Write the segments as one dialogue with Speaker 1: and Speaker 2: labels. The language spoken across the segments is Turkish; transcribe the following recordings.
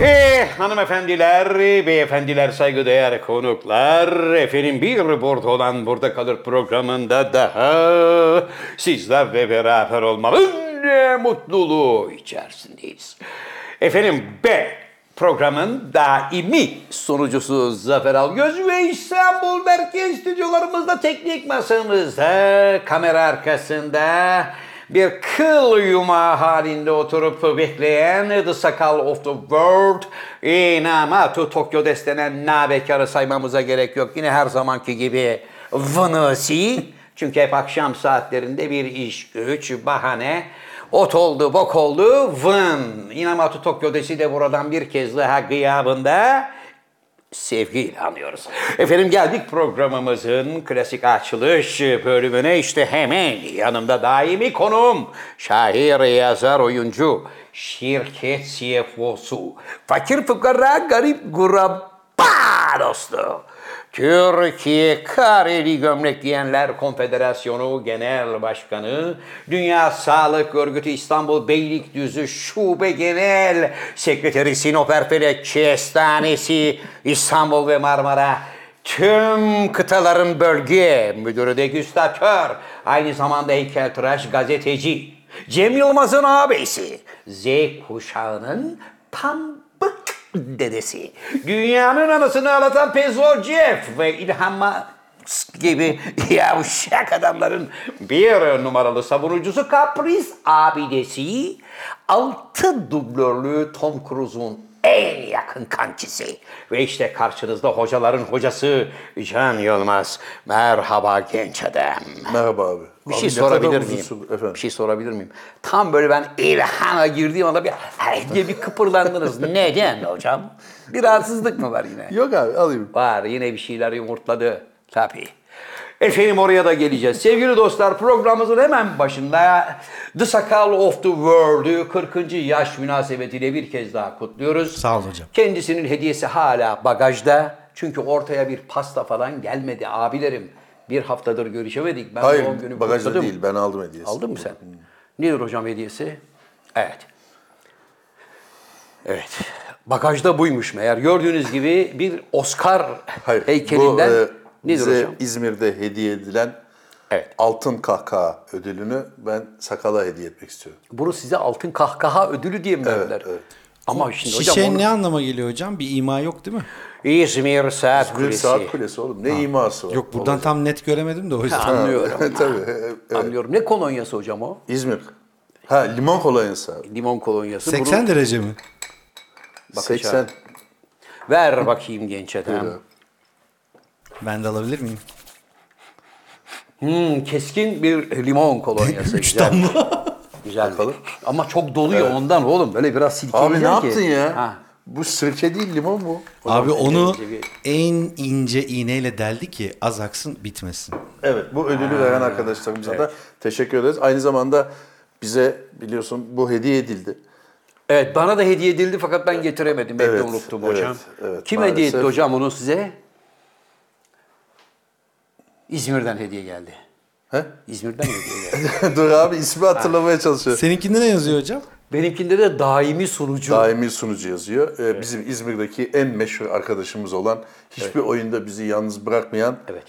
Speaker 1: Eh hanımefendiler, beyefendiler, saygıdeğer konuklar. Efendim bir burada olan Burada Kalır programında daha sizler ve beraber olmanın eh, mutluluğu içerisindeyiz. Efendim B programın daimi sunucusu Zafer Algöz ve İstanbul Merkez stüdyolarımızda teknik masamızda kamera arkasında bir kıl yumağı halinde oturup bekleyen The Sakal of the World Inamatu Tokyo destenen nabekarı saymamıza gerek yok. Yine her zamanki gibi Vınısi. Çünkü hep akşam saatlerinde bir iş, güç, bahane. Ot oldu, bok oldu, vın. Inamatu Tokyo desi de buradan bir kez daha gıyabında sevgiyle anıyoruz. Efendim geldik programımızın klasik açılış bölümüne işte hemen yanımda daimi konuğum. Şair, yazar, oyuncu, şirket CFO'su, fakir fukara, garip guraba dostu. Türkiye Kareli Gömlek Giyenler Konfederasyonu Genel Başkanı, Dünya Sağlık Örgütü İstanbul Beylikdüzü Şube Genel Sekreteri Sinop Erfelek Kestanesi İstanbul ve Marmara Tüm kıtaların bölge müdürü degüstatör, aynı zamanda heykeltıraş gazeteci, Cem Yılmaz'ın ağabeyisi, Z kuşağının pambık dedesi. Dünyanın anasını ağlatan Pezor Jeff ve İlhan Musk gibi yavşak adamların bir numaralı savunucusu Kapris abidesi, altı dublörlü Tom Cruise'un en yakın kankisi. Ve işte karşınızda hocaların hocası Can Yılmaz. Merhaba genç adam.
Speaker 2: Merhaba abi.
Speaker 1: Bir
Speaker 2: Abi
Speaker 1: şey
Speaker 2: ne
Speaker 1: sorabilir
Speaker 2: kadar
Speaker 1: miyim?
Speaker 2: uzunsun Efendim.
Speaker 1: Bir şey sorabilir miyim? Tam böyle ben İlhan'a girdiğim anda bir "Ay" diye bir kıpırlandınız. Neden hocam? Bir rahatsızlık mı var yine?
Speaker 2: Yok abi alayım.
Speaker 1: Var yine bir şeyler yumurtladı. Tabii. Efendim oraya da geleceğiz. Sevgili dostlar programımızın hemen başında The Sakal of the World'ü 40. yaş münasebetiyle bir kez daha kutluyoruz.
Speaker 3: Sağ olun hocam.
Speaker 1: Kendisinin hediyesi hala bagajda. Çünkü ortaya bir pasta falan gelmedi abilerim. Bir haftadır görüşemedik. Ben doğum günü
Speaker 2: Hayır bagajda
Speaker 1: kutladım.
Speaker 2: değil ben aldım hediyesi.
Speaker 1: Aldın mı sen? Nedir hocam hediyesi? Evet. Evet. Bagajda buymuş meğer. Gördüğünüz gibi bir Oscar
Speaker 2: Hayır.
Speaker 1: heykelinden
Speaker 2: bu, e,
Speaker 1: nedir
Speaker 2: bize
Speaker 1: hocam?
Speaker 2: İzmir'de hediye edilen
Speaker 1: Evet.
Speaker 2: altın kahkaha ödülünü ben sakala hediye etmek istiyorum.
Speaker 1: Bunu size altın kahkaha ödülü diye mi verdiler?
Speaker 2: evet.
Speaker 1: Ama şimdi
Speaker 3: Şişe
Speaker 1: hocam onu...
Speaker 3: ne anlama geliyor hocam? Bir ima yok değil mi?
Speaker 1: İzmir Saat
Speaker 2: Bir
Speaker 1: Kulesi.
Speaker 2: saat kulesi oğlum ne iması var.
Speaker 3: Yok buradan tam net göremedim de o yüzden.
Speaker 1: Anlıyorum.
Speaker 2: Tabii. e, e,
Speaker 1: Anlıyorum. Ne kolonyası hocam o?
Speaker 2: İzmir. Ha limon kolonyası abi.
Speaker 1: Limon kolonyası. Bunu
Speaker 3: 80 derece mi?
Speaker 2: 80.
Speaker 1: ver bakayım genç adam.
Speaker 3: Ben de alabilir miyim?
Speaker 1: Hmm, keskin bir limon kolonyası.
Speaker 3: Üç
Speaker 1: Güzel.
Speaker 3: damla.
Speaker 1: Güzel. Ama çok doluyor ondan oğlum. Böyle biraz silkeliyor
Speaker 2: Abi
Speaker 1: ki.
Speaker 2: ne yaptın ya?
Speaker 1: Ha.
Speaker 2: Bu sirke değil limon bu.
Speaker 3: Abi
Speaker 1: Hocam,
Speaker 3: onu
Speaker 1: ince bir-
Speaker 3: en ince iğneyle deldi ki az aksın bitmesin.
Speaker 2: Evet, bu ödülü veren arkadaşlarımıza da teşekkür ederiz. Aynı zamanda bize biliyorsun bu hediye edildi.
Speaker 1: Evet bana da hediye edildi fakat ben getiremedim. Bekle
Speaker 2: Evet,
Speaker 1: unuttum
Speaker 2: evet,
Speaker 1: hocam.
Speaker 2: evet,
Speaker 1: Kim
Speaker 2: maalesef.
Speaker 1: hediye etti hocam onu size? İzmir'den hediye geldi.
Speaker 2: He?
Speaker 1: İzmir'den hediye geldi.
Speaker 2: Dur abi ismi hatırlamaya çalışıyor.
Speaker 3: Seninkinde ne yazıyor hocam?
Speaker 1: Benimkinde de daimi sunucu.
Speaker 2: Daimi sunucu yazıyor. Ee, Bizim İzmir'deki en meşhur arkadaşımız olan, hiçbir oyunda bizi yalnız bırakmayan
Speaker 1: Evet.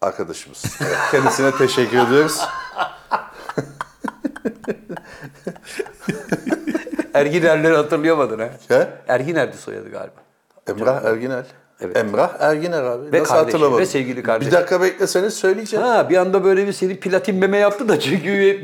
Speaker 2: arkadaşımız. Evet, Kendisine teşekkür ediyoruz.
Speaker 1: Ergin Erler'i hatırlayamadın ha.
Speaker 2: He?
Speaker 1: Ergin Erdi soyadı galiba.
Speaker 2: Emrah Erginel.
Speaker 1: Evet.
Speaker 2: Emrah Erginer abi.
Speaker 1: Ve
Speaker 2: Nasıl
Speaker 1: kardeşi,
Speaker 2: hatırlamadım?
Speaker 1: ve sevgili kardeşi.
Speaker 2: Bir dakika bekleseniz söyleyeceğim.
Speaker 1: Ha bir anda böyle bir seni platin meme yaptı da çünkü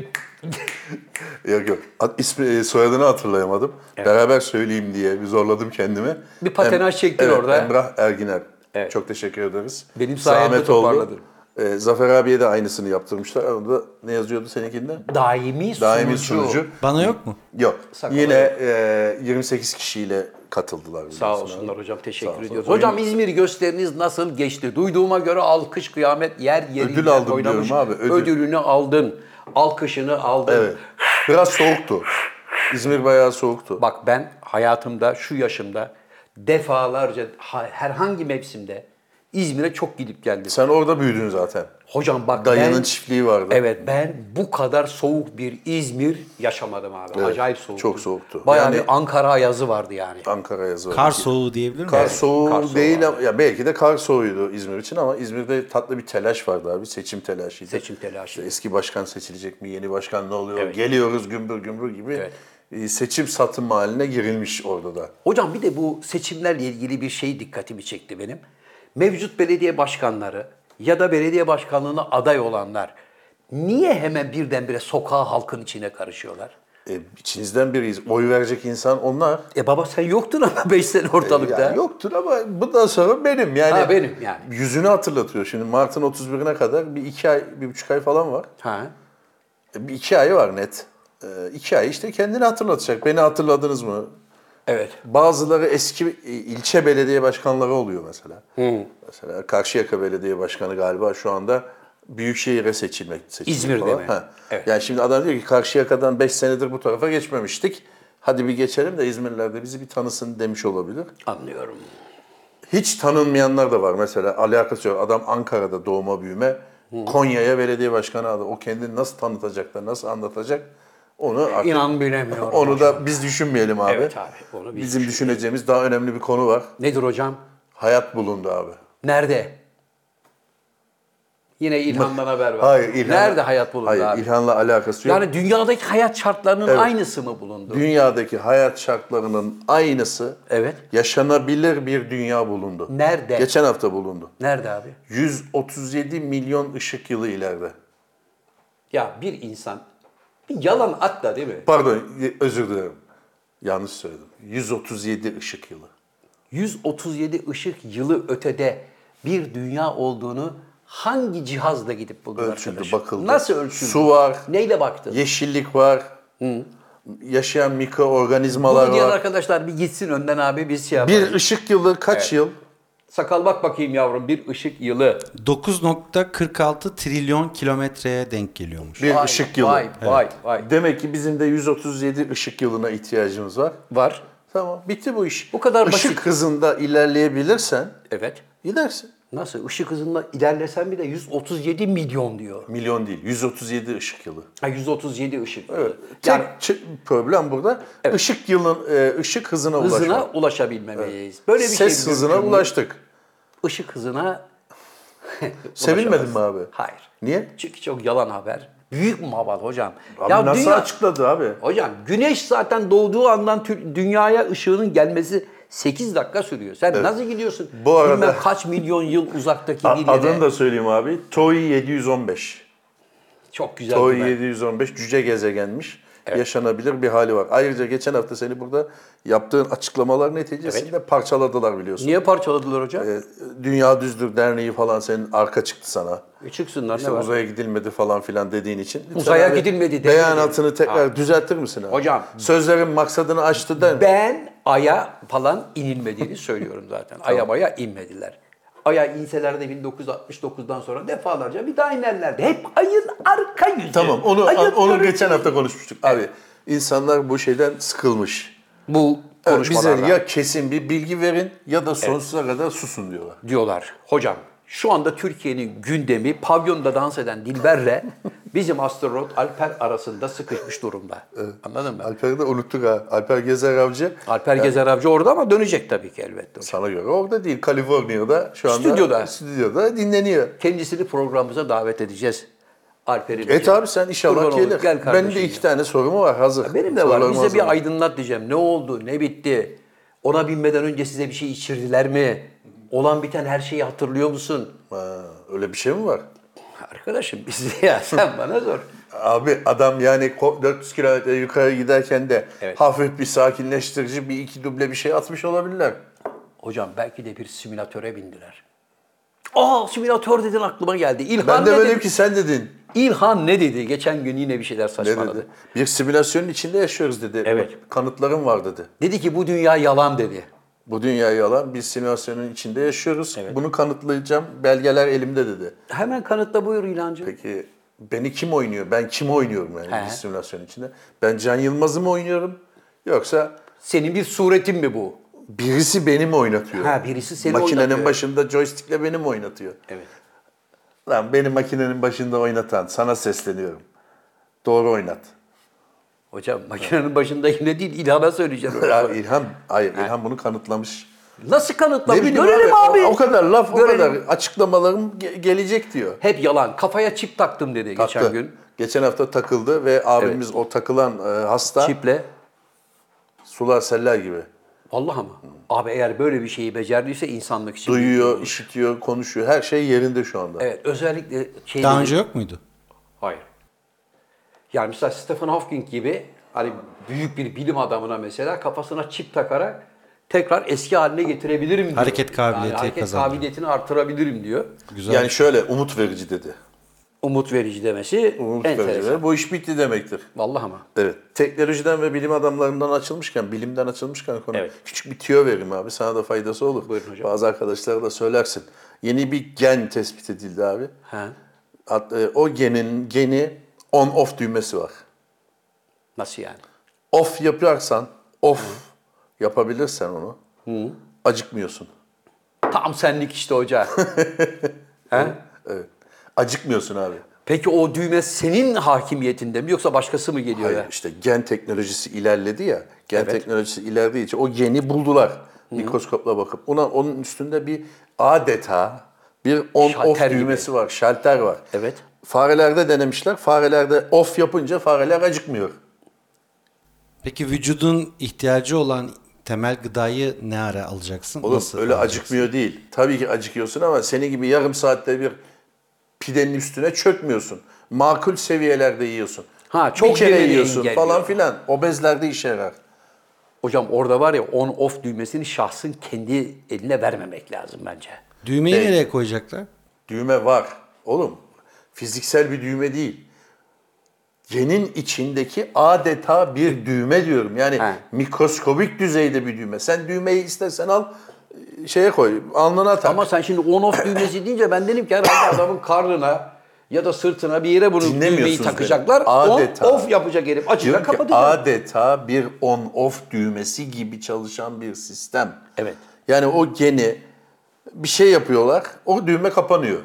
Speaker 2: Yok yok. Ad- ismi, e, soyadını hatırlayamadım. Beraber söyleyeyim diye bir zorladım kendimi.
Speaker 1: Bir patenaj çektin
Speaker 2: evet,
Speaker 1: orada.
Speaker 2: Emrah Erginer.
Speaker 1: Evet.
Speaker 2: Çok teşekkür ederiz.
Speaker 1: Benim sayemde
Speaker 2: Zahmet oldu.
Speaker 1: toparladın.
Speaker 2: E, Zafer abiye de aynısını yaptırmışlar. Orada ne yazıyordu seninkinde?
Speaker 1: daimi,
Speaker 2: Daimi
Speaker 1: sunucu.
Speaker 2: sunucu.
Speaker 3: Bana yok mu?
Speaker 2: Yok.
Speaker 1: Sakala
Speaker 2: Yine e, 28 kişiyle katıldılar.
Speaker 1: Sağ
Speaker 2: biliyorsun
Speaker 1: olsunlar
Speaker 2: abi.
Speaker 1: hocam. Teşekkür
Speaker 2: Sağ olsun.
Speaker 1: ediyoruz. Hocam İzmir gösteriniz nasıl geçti? Duyduğuma göre alkış kıyamet yer yerinden
Speaker 2: Ödül aldım
Speaker 1: oynamış.
Speaker 2: diyorum abi, ödül.
Speaker 1: Ödülünü aldın. Alkışını aldın.
Speaker 2: Evet. Biraz soğuktu. İzmir bayağı soğuktu.
Speaker 1: Bak ben hayatımda şu yaşımda defalarca ha- herhangi mevsimde İzmir'e çok gidip geldim.
Speaker 2: Sen orada büyüdün zaten.
Speaker 1: Hocam bak
Speaker 2: Dayının
Speaker 1: ben-
Speaker 2: çiftliği vardı.
Speaker 1: Evet ben bu kadar soğuk bir İzmir yaşamadım abi.
Speaker 2: Evet,
Speaker 1: Acayip soğuktu.
Speaker 2: çok soğuktu.
Speaker 1: Bayağı
Speaker 2: Yani-
Speaker 1: bir Ankara yazı vardı yani.
Speaker 2: Ankara yazı var.
Speaker 3: Kar soğuğu diyebilir miyim?
Speaker 2: Kar soğuğu
Speaker 1: kar soğuğu
Speaker 2: değil
Speaker 1: vardı.
Speaker 2: ama- ya belki de kar soğuğuydu İzmir için ama İzmir'de tatlı bir telaş vardı abi. Seçim telaşıydı.
Speaker 1: Seçim telaşı.
Speaker 2: İşte eski başkan seçilecek mi? Yeni başkan ne oluyor?
Speaker 1: Evet.
Speaker 2: Geliyoruz gümbür gümbür gibi.
Speaker 1: Evet.
Speaker 2: e, Seçim satım haline girilmiş orada da.
Speaker 1: Hocam bir de bu seçimlerle ilgili bir şey dikkatimi çekti benim. Mevcut belediye başkanları ya da belediye başkanlığına aday olanlar niye hemen birdenbire sokağa halkın içine karışıyorlar?
Speaker 2: E, içinizden biriyiz. Oy verecek insan onlar.
Speaker 1: E baba sen yoktun ama 5 sene ortalıkta.
Speaker 2: E, Yani yoktur ama bundan sonra benim yani.
Speaker 1: Ha, benim yani.
Speaker 2: Yüzünü hatırlatıyor şimdi. Mart'ın 31'ine kadar bir iki ay, bir buçuk ay falan var.
Speaker 1: Ha.
Speaker 2: E, Bir iki ay var net. E, iki ay işte kendini hatırlatacak. Beni hatırladınız mı?
Speaker 1: Evet.
Speaker 2: Bazıları eski e, ilçe belediye başkanları oluyor mesela. Mesela Karşıyaka Belediye Başkanı galiba şu anda Büyükşehir'e seçilmek seçildi
Speaker 1: İzmir'de
Speaker 2: falan.
Speaker 1: mi?
Speaker 2: Ha.
Speaker 1: Evet.
Speaker 2: Yani şimdi adam diyor ki Karşıyaka'dan 5 senedir bu tarafa geçmemiştik. Hadi bir geçelim de İzmirliler de bizi bir tanısın demiş olabilir.
Speaker 1: Anlıyorum.
Speaker 2: Hiç tanınmayanlar da var mesela alakası yok. Adam Ankara'da doğma büyüme Konya'ya belediye başkanı adı. O kendini nasıl tanıtacak da nasıl anlatacak onu artık
Speaker 1: İnan bilemiyorum.
Speaker 2: onu da biz düşünmeyelim abi.
Speaker 1: Evet abi, onu biz
Speaker 2: Bizim düşüneceğimiz daha önemli bir konu var.
Speaker 1: Nedir hocam?
Speaker 2: Hayat bulundu abi.
Speaker 1: Nerede? Yine İlhan'dan haber var.
Speaker 2: Hayır, İlhan-
Speaker 1: Nerede hayat bulundu
Speaker 2: Hayır,
Speaker 1: abi?
Speaker 2: İlhan'la alakası yok.
Speaker 1: Yani dünyadaki hayat şartlarının aynısı mı bulundu?
Speaker 2: Dünyadaki hayat şartlarının aynısı
Speaker 1: Evet.
Speaker 2: yaşanabilir bir dünya bulundu.
Speaker 1: Nerede?
Speaker 2: Geçen hafta bulundu.
Speaker 1: Nerede abi?
Speaker 2: 137 milyon ışık yılı ileride.
Speaker 1: Ya bir insan bir yalan atla değil mi?
Speaker 2: Pardon, y- özür dilerim. Yanlış söyledim. 137 ışık yılı.
Speaker 1: 137 ışık yılı ötede bir dünya olduğunu hangi cihazla gidip buldular?
Speaker 2: Ölçüldü,
Speaker 1: arkadaş?
Speaker 2: bakıldı.
Speaker 1: Nasıl ölçüldü?
Speaker 2: Su var.
Speaker 1: Neyle baktın?
Speaker 2: Yeşillik var. Yaşayan mikroorganizmalar
Speaker 1: Bunu diyen
Speaker 2: var.
Speaker 1: arkadaşlar bir gitsin önden abi biz şey yapalım.
Speaker 2: Bir ışık yılı kaç yıl?
Speaker 1: Sakal bak bakayım yavrum bir ışık yılı.
Speaker 3: 9.46 trilyon kilometreye denk geliyormuş.
Speaker 2: Bir
Speaker 1: Vay,
Speaker 2: ışık yılı.
Speaker 1: Vay vay vay.
Speaker 2: Demek ki bizim de 137 ışık yılına ihtiyacımız var.
Speaker 1: Var.
Speaker 2: Tamam, bitti bu iş.
Speaker 1: Bu kadar
Speaker 2: Işık
Speaker 1: basit.
Speaker 2: hızında ilerleyebilirsen
Speaker 1: Evet.
Speaker 2: gidersin.
Speaker 1: Nasıl? Işık hızında ilerlesen bile 137 milyon diyor.
Speaker 2: Milyon değil, 137 ışık yılı.
Speaker 1: Ha 137 ışık yılı.
Speaker 2: Evet. Tek
Speaker 1: Yani
Speaker 2: ç- problem burada ışık yılın e, ışık hızına,
Speaker 1: hızına
Speaker 2: ulaşmak.
Speaker 1: ulaşabilmemiz. Böyle bir şey
Speaker 2: Ses
Speaker 1: mümkün
Speaker 2: hızına
Speaker 1: mü?
Speaker 2: ulaştık.
Speaker 1: Işık hızına
Speaker 2: Sevinmedin mi abi?
Speaker 1: ulaşamaz. Hayır.
Speaker 2: Niye?
Speaker 1: Çünkü çok yalan haber. Büyük muhabbet hocam.
Speaker 2: Abi NASA açıkladı abi.
Speaker 1: Hocam güneş zaten doğduğu andan tü- dünyaya ışığının gelmesi 8 dakika sürüyor. Sen nasıl gidiyorsun?
Speaker 2: Bu arada-
Speaker 1: Bilmem kaç milyon yıl uzaktaki
Speaker 2: A-
Speaker 1: bir yere.
Speaker 2: adını da söyleyeyim abi. TOY 715.
Speaker 1: Çok güzel.
Speaker 2: TOY
Speaker 1: bunlar.
Speaker 2: 715 cüce gezegenmiş. Yaşanabilir bir hali var. Ayrıca geçen hafta seni burada yaptığın açıklamalar neticesinde parçaladılar biliyorsun.
Speaker 1: Niye parçaladılar hocam?
Speaker 2: E, Dünya Düzdür Derneği falan senin arka çıktı sana.
Speaker 1: E Çıksınlar
Speaker 2: İşte
Speaker 1: ne var?
Speaker 2: uzaya gidilmedi falan filan dediğin için. lütfen
Speaker 1: Uzaya gidilmedi dedi.
Speaker 2: Beyanatını tekrar düzeltir misin abi?
Speaker 1: Hocam.
Speaker 2: Sözlerin maksadını aştı der mi?
Speaker 1: Ben aya falan inilmediğini söylüyorum zaten. Aya baya inmediler. Aya inseler de 1969'dan sonra defalarca bir daha inerlerdi. Hep ayın arka yüzü.
Speaker 2: Tamam onu
Speaker 1: Ayın
Speaker 2: onu
Speaker 1: görüntüsü.
Speaker 2: geçen hafta konuşmuştuk. Abi insanlar bu şeyden sıkılmış.
Speaker 1: Bu
Speaker 2: Evet,
Speaker 1: konuşmalardan
Speaker 2: Bize ya kesin bir bilgi verin ya da sonsuza kadar susun diyorlar.
Speaker 1: diyorlar. Hocam şu anda Türkiye'nin gündemi pavyonda dans eden Dilber'le bizim astronot Alper arasında sıkışmış durumda. Anladın mı?
Speaker 2: Alper'i de unuttuk ha. Alper Gezer Avcı
Speaker 1: Alper Gezer Avcı orada ama dönecek tabii ki elbette.
Speaker 2: sana göre orada değil. Kaliforniya'da şu anda
Speaker 1: Stüdyoda.
Speaker 2: stüdyoda dinleniyor.
Speaker 1: Kendisini programımıza davet edeceğiz. Alper'i.
Speaker 2: E tabi sen
Speaker 1: Kurban
Speaker 2: inşallah
Speaker 1: olayım,
Speaker 2: gelir.
Speaker 1: gel kardeşim
Speaker 2: Benim de iki
Speaker 1: ya.
Speaker 2: tane sorum var hazır.
Speaker 1: Benim de var.
Speaker 2: Sorularımı
Speaker 1: Bize bir
Speaker 2: hazırladım.
Speaker 1: aydınlat diyeceğim. Ne oldu? Ne bitti? Ona binmeden önce size bir şey içirdiler mi? Olan biten her şeyi hatırlıyor musun?
Speaker 2: Ha, öyle bir şey mi var?
Speaker 1: Arkadaşım biz ya sen bana sor.
Speaker 2: Abi adam yani ko- 400 kilometre yukarı giderken de
Speaker 1: Evet.
Speaker 2: hafif bir sakinleştirici bir iki duble bir şey atmış olabilirler.
Speaker 1: Hocam belki de bir simülatöre bindiler. Aa simülatör dedin aklıma geldi. İlhan
Speaker 2: Ben de
Speaker 1: ne
Speaker 2: böyle
Speaker 1: dedi?
Speaker 2: ki sen dedin.
Speaker 1: İlhan ne dedi? Geçen gün yine bir şeyler
Speaker 2: Ne
Speaker 1: saçmaladı.
Speaker 2: dedi? Bir simülasyonun içinde yaşıyoruz dedi.
Speaker 1: Evet.
Speaker 2: Kanıtlarım var dedi.
Speaker 1: Dedi ki bu dünya yalan dedi.
Speaker 2: Bu dünyayı yalan bir simülasyonun içinde yaşıyoruz. Bunu kanıtlayacağım. Belgeler elimde dedi.
Speaker 1: Hemen kanıtla buyur İlhancığım.
Speaker 2: Peki beni kim oynuyor? Ben kimi oynuyorum yani
Speaker 1: He.
Speaker 2: bir simülasyonun içinde? Ben Can Yılmaz'ı mı oynuyorum? Yoksa
Speaker 1: Senin bir suretin mi bu?
Speaker 2: Birisi beni mi oynatıyor?
Speaker 1: Ha, birisi seni
Speaker 2: Makinenin
Speaker 1: oynatıyor.
Speaker 2: başında joystickle beni mi oynatıyor?
Speaker 1: Evet.
Speaker 2: Lan beni makinenin başında oynatan sana sesleniyorum. Doğru oynat.
Speaker 1: Hocam makinenin başında yine değil İlhan'a söyleyeceğim.
Speaker 2: Ya İlhan, hayır İlhan bunu kanıtlamış.
Speaker 1: Nasıl
Speaker 2: Ne
Speaker 1: kanıtlamış?
Speaker 2: bileyim
Speaker 1: Görelim
Speaker 2: abi,
Speaker 1: abi.
Speaker 2: O, o kadar laf,
Speaker 1: Görelim.
Speaker 2: o kadar açıklamalarım ge- gelecek diyor.
Speaker 1: Hep yalan. Kafaya çip taktım dedi geçen
Speaker 2: Taktı.
Speaker 1: gün.
Speaker 2: Geçen hafta takıldı ve abimiz o takılan e, hasta
Speaker 1: Çiple.
Speaker 2: sular seller gibi.
Speaker 1: Vallahi ama. Abi eğer böyle bir şeyi becerdiyse insanlık için.
Speaker 2: Hmm. Duyuyor, işitiyor, konuşuyor. Her şey yerinde şu anda.
Speaker 1: Evet özellikle şey
Speaker 3: Daha önce yok muydu?
Speaker 1: Hayır. Yani mesela Stephen Hawking gibi hani büyük bir bilim adamına mesela kafasına çip takarak tekrar eski haline getirebilirim diyor.
Speaker 3: Hareket kabiliyeti
Speaker 1: yani hareket
Speaker 3: kazandı.
Speaker 1: kabiliyetini artırabilirim diyor.
Speaker 3: Güzel.
Speaker 2: Yani şöyle umut verici dedi.
Speaker 1: Umut verici demesi
Speaker 2: Umut verici.
Speaker 1: enteresan.
Speaker 2: dedi. Bu iş bitti demektir.
Speaker 1: Vallahi ama.
Speaker 2: Evet. Teknolojiden ve bilim adamlarından açılmışken, bilimden açılmışken konu.
Speaker 1: Evet.
Speaker 2: Küçük bir tüyo vereyim abi. Sana da faydası olur.
Speaker 1: Buyurun hocam.
Speaker 2: Bazı arkadaşlara da söylersin. Yeni bir gen tespit edildi abi.
Speaker 1: Ha.
Speaker 2: Hat- e, O genin geni on off düğmesi var.
Speaker 1: Nasıl yani?
Speaker 2: Off yaparsan, off yapabilirsen onu. Acıkmıyorsun.
Speaker 1: Tam senlik işte hoca. He?
Speaker 2: Evet. Acıkmıyorsun abi.
Speaker 1: Peki o düğme senin hakimiyetinde mi yoksa başkası mı geliyor
Speaker 2: Hayır,
Speaker 1: ya?
Speaker 2: işte gen teknolojisi ilerledi ya. Gen teknolojisi ilerlediği için o geni buldular. Mikroskopla bakıp. Ona, onun üstünde bir adeta bir on-off
Speaker 1: Şalter gibi.
Speaker 2: düğmesi var, şalter var.
Speaker 1: Evet.
Speaker 2: Farelerde denemişler. Farelerde off yapınca fareler acıkmıyor.
Speaker 3: Peki vücudun ihtiyacı olan temel gıdayı ne ara alacaksın?
Speaker 2: Oğlum
Speaker 3: Nasıl
Speaker 2: öyle
Speaker 3: alacaksın?
Speaker 2: acıkmıyor değil. Tabii ki acıkıyorsun ama seni gibi yarım saatte bir pidenin üstüne çökmüyorsun. Makul seviyelerde yiyorsun.
Speaker 1: Ha, çok
Speaker 2: bir kere
Speaker 1: yemeği
Speaker 2: yiyorsun
Speaker 1: engelliyor.
Speaker 2: falan filan. Obezlerde işe yarar.
Speaker 1: Hocam orada var ya on off düğmesini şahsın kendi eline vermemek lazım bence.
Speaker 3: Düğmeyi
Speaker 2: Değil.
Speaker 3: nereye koyacaklar?
Speaker 2: Düğme var. Oğlum fiziksel bir düğme değil. Genin içindeki adeta bir düğme diyorum. Yani
Speaker 1: He.
Speaker 2: mikroskobik düzeyde bir düğme. Sen düğmeyi istersen al e, şeye koy, alnına tak.
Speaker 1: Ama sen şimdi on off düğmesi deyince ben dedim ki herhalde adamın karnına ya da sırtına bir yere bunu düğmeyi
Speaker 2: Dinlemiyorsunuz
Speaker 1: takacaklar.
Speaker 2: beni. Adeta.
Speaker 1: On off yapacak herif. Açacak
Speaker 2: Diyorum ki
Speaker 1: kapatacak.
Speaker 2: adeta bir on-off düğmesi gibi çalışan bir sistem.
Speaker 1: Evet.
Speaker 2: Yani o geni bir şey yapıyorlar, o düğme kapanıyor.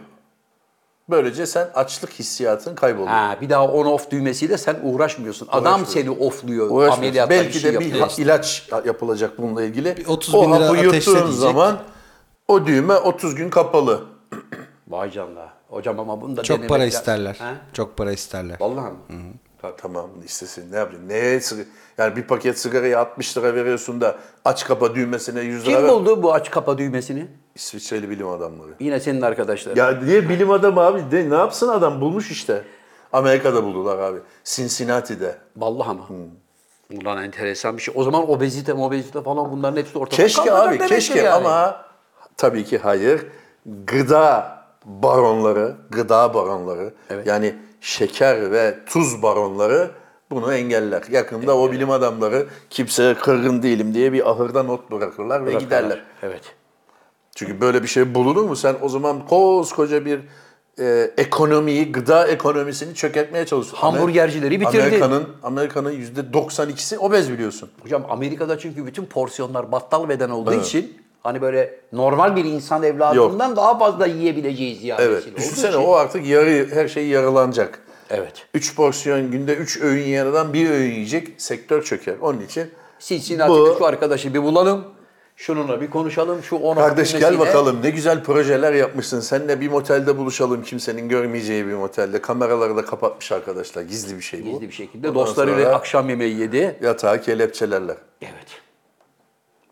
Speaker 2: Böylece sen açlık hissiyatın kayboluyor.
Speaker 1: Ha, bir daha on off düğmesiyle sen uğraşmıyorsun. Adam seni offluyor
Speaker 2: Uğraşmıyorsun.
Speaker 1: ameliyatta
Speaker 2: Belki
Speaker 1: bir şey
Speaker 2: de bir
Speaker 1: yapıyor.
Speaker 2: ha- ilaç yapılacak bununla ilgili.
Speaker 3: Bir 30
Speaker 2: o
Speaker 3: bin lira
Speaker 2: hapı yuttuğun
Speaker 3: ateşlenecek.
Speaker 2: zaman o düğme 30 gün kapalı.
Speaker 1: Vay canına. Hocam ama bunu da
Speaker 3: Çok
Speaker 1: denemek
Speaker 3: para
Speaker 1: lazım.
Speaker 3: isterler.
Speaker 1: Ha?
Speaker 3: Çok para isterler.
Speaker 1: Vallahi mi?
Speaker 2: Tamam istesin ne yapayım? Neye sigara- yani bir paket sigarayı 60 lira veriyorsun da aç kapa düğmesine 100 lira
Speaker 1: Kim
Speaker 2: ver.
Speaker 1: buldu bu aç kapa düğmesini?
Speaker 2: İsviçreli bilim adamları.
Speaker 1: Yine senin arkadaşların.
Speaker 2: Ya niye bilim adamı abi? De, ne yapsın adam? Bulmuş işte. Amerika'da buldular abi. Cincinnati'de.
Speaker 1: Vallahi ama.
Speaker 2: Hmm.
Speaker 1: Ulan enteresan bir şey. O zaman obezite obezite falan bunların hepsi ortada
Speaker 2: Keşke
Speaker 1: kalmayacak
Speaker 2: abi
Speaker 1: demektir
Speaker 2: keşke
Speaker 1: yani.
Speaker 2: ama tabii ki hayır. Gıda baronları, gıda baronları yani şeker ve tuz baronları bunu engeller. Yakında o bilim adamları kimseye kırgın değilim diye bir ahırda not bırakırlar ve giderler.
Speaker 1: Evet.
Speaker 2: Çünkü böyle bir şey bulunur mu? Sen o zaman koskoca bir e, ekonomiyi, gıda ekonomisini çökertmeye çalışıyorsun.
Speaker 1: Hamburgercileri bitirdi.
Speaker 2: Amerika'nın Amerika'nın %92'si obez biliyorsun.
Speaker 1: Hocam Amerika'da çünkü bütün porsiyonlar battal beden olduğu için hani böyle normal bir insan evladından daha fazla yiyebileceği ziyadesiyle
Speaker 2: Evet.
Speaker 1: olduğu
Speaker 2: Düşünsene
Speaker 1: için-
Speaker 2: o artık yarı her şey yarılanacak.
Speaker 1: Evet.
Speaker 2: 3 porsiyon günde 3 öğün yiyen adam bir öğün yiyecek. Sektör çöker. Onun için
Speaker 1: Cincinnati'de şu arkadaşı bir bulalım. Şununla bir konuşalım. Şu onu
Speaker 2: Kardeş gel bakalım ne güzel projeler yapmışsın. Seninle bir motelde buluşalım kimsenin görmeyeceği bir motelde. Kameraları da kapatmış arkadaşlar. Gizli bir şey bu.
Speaker 1: Gizli bir şekilde
Speaker 2: Ondan
Speaker 1: dostlarıyla
Speaker 2: sonra
Speaker 1: akşam yemeği yedi.
Speaker 2: yatağı kelepçelerler.
Speaker 1: Evet.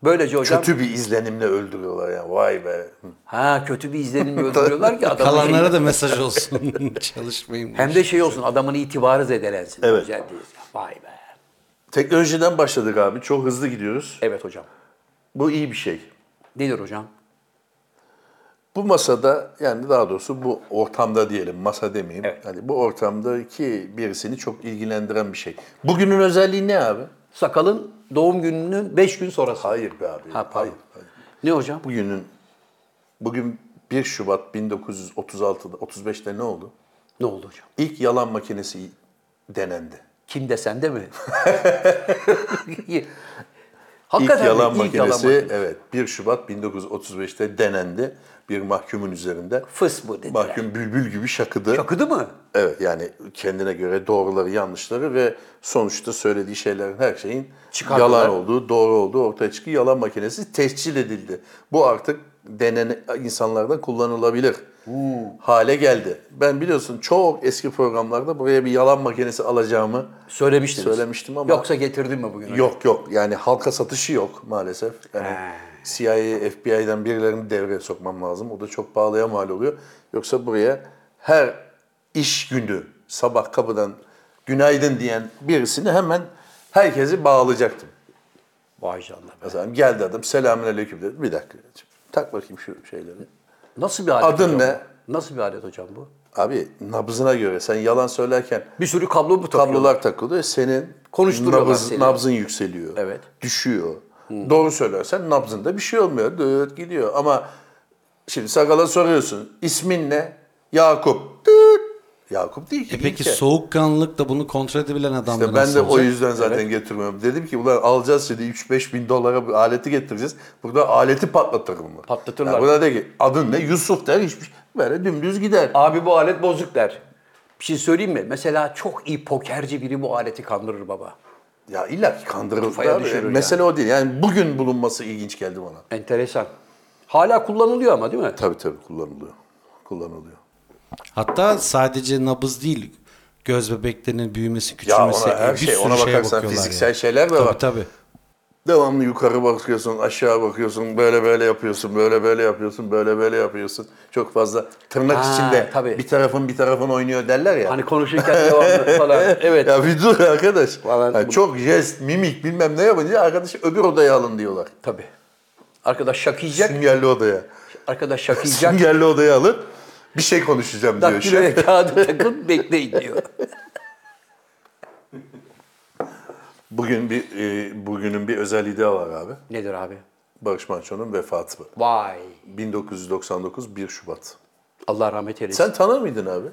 Speaker 1: Böylece hocam
Speaker 2: Kötü bir izlenimle öldürüyorlar yani. Vay be.
Speaker 1: ha kötü bir izlenim öldürüyorlar ki adamın şey-
Speaker 3: Kalanlara da mesaj olsun. E Çalışmayın.
Speaker 1: Hem de şey olsun adamın itibarı zedelensin.
Speaker 2: Evet.
Speaker 1: Güzel değil. Vay be.
Speaker 2: Teknolojiden başladık abi. Çok hızlı gidiyoruz.
Speaker 1: Evet hocam.
Speaker 2: Bu iyi bir şey.
Speaker 1: Nedir hocam?
Speaker 2: Bu masada yani daha doğrusu bu ortamda diyelim masa demeyeyim.
Speaker 1: Evet.
Speaker 2: Hani bu ortamdaki birisini çok ilgilendiren bir şey. Bugünün özelliği ne abi?
Speaker 1: Sakalın doğum gününün 5 gün sonrası.
Speaker 2: Hayır be abi.
Speaker 1: Ha, pardon.
Speaker 2: hayır, hayır.
Speaker 1: Ne hocam?
Speaker 2: Bugünün bugün 1 Şubat 1936'da 35'te ne oldu?
Speaker 1: Ne oldu hocam?
Speaker 2: İlk yalan makinesi denendi.
Speaker 1: Kim desen de mi? Hakikaten
Speaker 2: ilk yalan
Speaker 1: de ilk yalan
Speaker 2: makinesi
Speaker 1: makinesi.
Speaker 2: evet 1 Şubat 1935'te denendi bir mahkumun üzerinde.
Speaker 1: Fıs bu dediler.
Speaker 2: Mahkum bülbül gibi şakıdı.
Speaker 1: Yakıdı mı?
Speaker 2: Evet yani kendine göre doğruları yanlışları ve sonuçta söylediği şeylerin her şeyin
Speaker 1: Çıkardılar.
Speaker 2: yalan olduğu, doğru olduğu ortaya çıktı. Yalan makinesi tescil edildi. Bu artık denen insanlarda kullanılabilir hale geldi. Ben biliyorsun çok eski programlarda buraya bir yalan makinesi alacağımı
Speaker 1: Söylemiştiniz.
Speaker 2: Söylemiştim ama-
Speaker 1: Yoksa getirdin mi bugün?
Speaker 2: yok yok yani halka satışı yok maalesef. Yani CIA, FBI'den birilerini devreye sokmam lazım. O da çok pahalıya mal oluyor. Yoksa buraya her iş günü sabah kapıdan günaydın diyen birisini hemen herkesi bağlayacaktım.
Speaker 1: Vay canına.
Speaker 2: Mesela geldi adam selamünaleyküm dedi. Bir dakika. Tak bakayım şu şeyleri.
Speaker 1: Nasıl bir alet
Speaker 2: Adın
Speaker 1: hocam
Speaker 2: ne?
Speaker 1: bu? Nasıl bir alet hocam bu?
Speaker 2: Abi nabzına göre sen yalan söylerken
Speaker 1: Bir sürü kablo mu takıyor?
Speaker 2: kablolar takılıyor. Senin
Speaker 1: Konuşturuyorlar
Speaker 2: nabız-
Speaker 1: seni.
Speaker 2: nabzın yükseliyor.
Speaker 1: Evet.
Speaker 2: Düşüyor. Doğru söylersen nabzında bir şey olmuyor. Dıt gidiyor ama şimdi sakala soruyorsun. İsmin ne? Yakup. Dıt. Yakup değil ki.
Speaker 3: E peki
Speaker 2: İlker.
Speaker 3: soğukkanlılıkla bunu kontrol edebilen adamlar
Speaker 2: İşte ben
Speaker 3: nasıl
Speaker 2: de o
Speaker 3: olacak?
Speaker 2: yüzden zaten getiriyorum. Dedim ki ulan alacağız şimdi 3-5 bin dolara bir aleti getireceğiz. Burada aleti patlatırım mı?
Speaker 1: Patlatırlar.
Speaker 2: Yani burada de ki adın ne? Yusuf der. Hiçbir şey. Böyle dümdüz gider.
Speaker 1: Abi bu alet bozuk der. Bir şey söyleyeyim mi? Mesela çok iyi pokerci biri bu aleti kandırır baba.
Speaker 2: Ya illa ki kandırılır.
Speaker 1: Kafaya düşürür yani.
Speaker 2: Mesele o değil. Yani bugün bulunması ilginç geldi bana.
Speaker 1: Enteresan. Hala kullanılıyor ama değil mi?
Speaker 2: Tabii tabii kullanılıyor. Kullanılıyor.
Speaker 3: Hatta sadece nabız değil göz bebeklerinin büyümesi,
Speaker 2: Ya ona
Speaker 3: küçülmesi,
Speaker 2: her
Speaker 3: bir
Speaker 2: şey,
Speaker 3: sürü
Speaker 2: ona
Speaker 3: şeye
Speaker 2: bakarsan
Speaker 3: bakıyorlar
Speaker 2: fiziksel
Speaker 3: yani.
Speaker 2: şeyler de
Speaker 3: Tabii
Speaker 2: var.
Speaker 3: tabii.
Speaker 2: Devamlı yukarı bakıyorsun, aşağı bakıyorsun, böyle böyle yapıyorsun, böyle böyle yapıyorsun, böyle böyle yapıyorsun. Çok fazla tırnak
Speaker 1: Ha,
Speaker 2: içinde
Speaker 1: tabii.
Speaker 2: bir tarafın bir tarafın oynuyor derler ya.
Speaker 1: Hani konuşurken devamlı falan. Evet.
Speaker 2: Ya bir dur arkadaş.
Speaker 1: Falan.
Speaker 2: Ha, çok jest, mimik bilmem ne yapınca arkadaşı öbür odaya alın diyorlar.
Speaker 1: Tabii. Arkadaş şakıyacak.
Speaker 2: Süngerli odaya.
Speaker 1: Arkadaş şakıyacak.
Speaker 2: Süngerli odaya alın. Bir şey konuşacağım diyor.
Speaker 1: Daktiloya kağıdı takın bekleyin diyor.
Speaker 2: Bugün bir e, bugünün bir özelliği daha var abi.
Speaker 1: Nedir abi?
Speaker 2: Barış Manço'nun vefatı.
Speaker 1: Vay.
Speaker 2: 1999 1 Şubat.
Speaker 1: Allah rahmet eylesin.
Speaker 2: Sen tanır mıydın abi?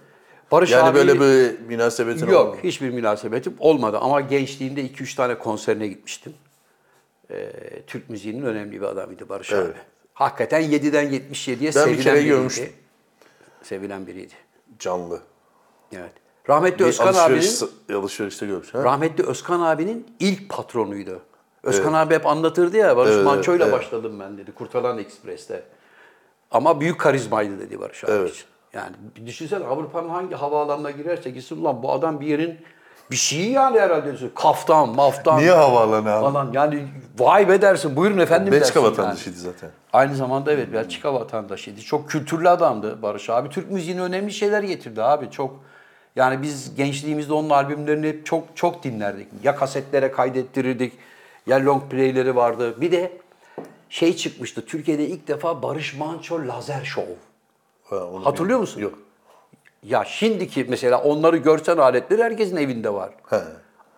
Speaker 1: Barış
Speaker 2: yani
Speaker 1: abi
Speaker 2: böyle bir münasebetin
Speaker 1: yok
Speaker 2: olmadı.
Speaker 1: hiçbir münasebetim olmadı ama gençliğimde 2-3 tane konserine gitmiştim. Ee, Türk müziğinin önemli bir adamıydı Barış
Speaker 2: Evet.
Speaker 1: abi. Hakikaten 7'den 77'ye
Speaker 2: Ben bir
Speaker 1: sevilen
Speaker 2: kere
Speaker 1: biriydi.
Speaker 2: görmüştüm.
Speaker 1: Sevilen biriydi.
Speaker 2: Canlı.
Speaker 1: Evet. Rahmetli
Speaker 2: Bir
Speaker 1: Özkan abinin
Speaker 2: alışveriş, alışverişte görmüş. Ha?
Speaker 1: rahmetli Özkan abinin ilk patronuydu. Özkan abi hep anlatırdı ya Barış
Speaker 2: Evet,
Speaker 1: Manço'yla
Speaker 2: evet.
Speaker 1: başladım ben dedi Kurtalan Ekspres'te. Ama büyük karizmaydı dedi Barış abi
Speaker 2: Evet.
Speaker 1: için. Yani düşünsene Avrupa'nın hangi havaalanına girerse gitsin ulan bu adam bir yerin bir şeyi yani herhalde. diyorsun. Kaftan, maftan
Speaker 2: Niye havaalanı abi?
Speaker 1: falan yani vay be dersin buyurun efendim dersin.
Speaker 2: Belçika
Speaker 1: yani.
Speaker 2: vatandaşıydı zaten.
Speaker 1: Aynı zamanda evet Belçika vatandaşıydı. Çok kültürlü adamdı Barış abi. Türk müziğine önemli şeyler getirdi abi. Çok yani biz gençliğimizde onun albümlerini hep çok çok dinlerdik. Ya kasetlere kaydettirirdik ya long playleri vardı. Bir de şey çıkmıştı. Türkiye'de ilk defa Barış Manço Lazer Show.
Speaker 2: Ha, onu bilmiyorum.
Speaker 1: Hatırlıyor musun?
Speaker 2: Yok.
Speaker 1: Ya şimdiki mesela onları görsen aletleri herkesin evinde var.
Speaker 2: He.